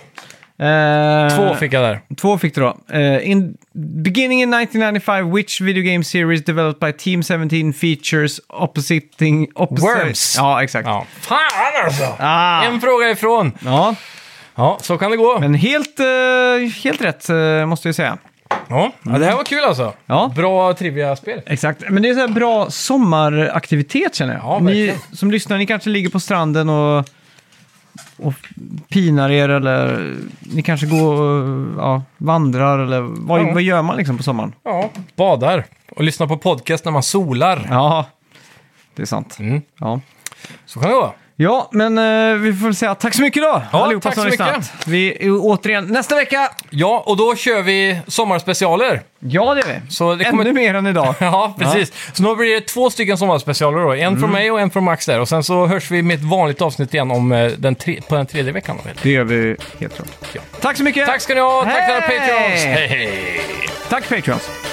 Eh, Två fick jag där. Två fick du då. Eh, in beginning in 1995, which video game series developed by Team 17 features oppositing... opposi- Worms. Ja, exakt. Ja. Ja. Fan alltså! Ah. En fråga ifrån. Ja, så kan det gå. men helt, eh, helt rätt eh, måste jag säga. Ja. ja, det här var kul alltså. Ja. Bra trivia-spel. Exakt, men det är så här bra sommaraktivitet känner jag. Ja, ni verkligen. som lyssnar, ni kanske ligger på stranden och, och pinar er eller ni kanske går och ja, vandrar eller vad, Ja. vad gör man liksom på sommaren? Ja. Badar och lyssnar på podcast när man solar. Ja, det är sant. Mm. Ja. Så kan det gå. Ja, men eh, vi får väl säga tack så mycket då, Ja, allihopa tack som så mycket. lyssnat. Vi är återigen nästa vecka! Ja, och då kör vi sommarspecialer. Ja, det är vi. Så det kommer- Ännu mer än idag. Ja, precis. Så nu blir det två stycken sommarspecialer då. En från Mm. mig och en från Max där. Och sen så hörs vi med ett vanligt avsnitt igen om eh, den tre, på den tredje veckan. Då. Det gör vi helt klart. Ja. Tack så mycket! Tack ska ni ha! Tack alla Hej! Patreons! Hej, hej! Tack Patreons!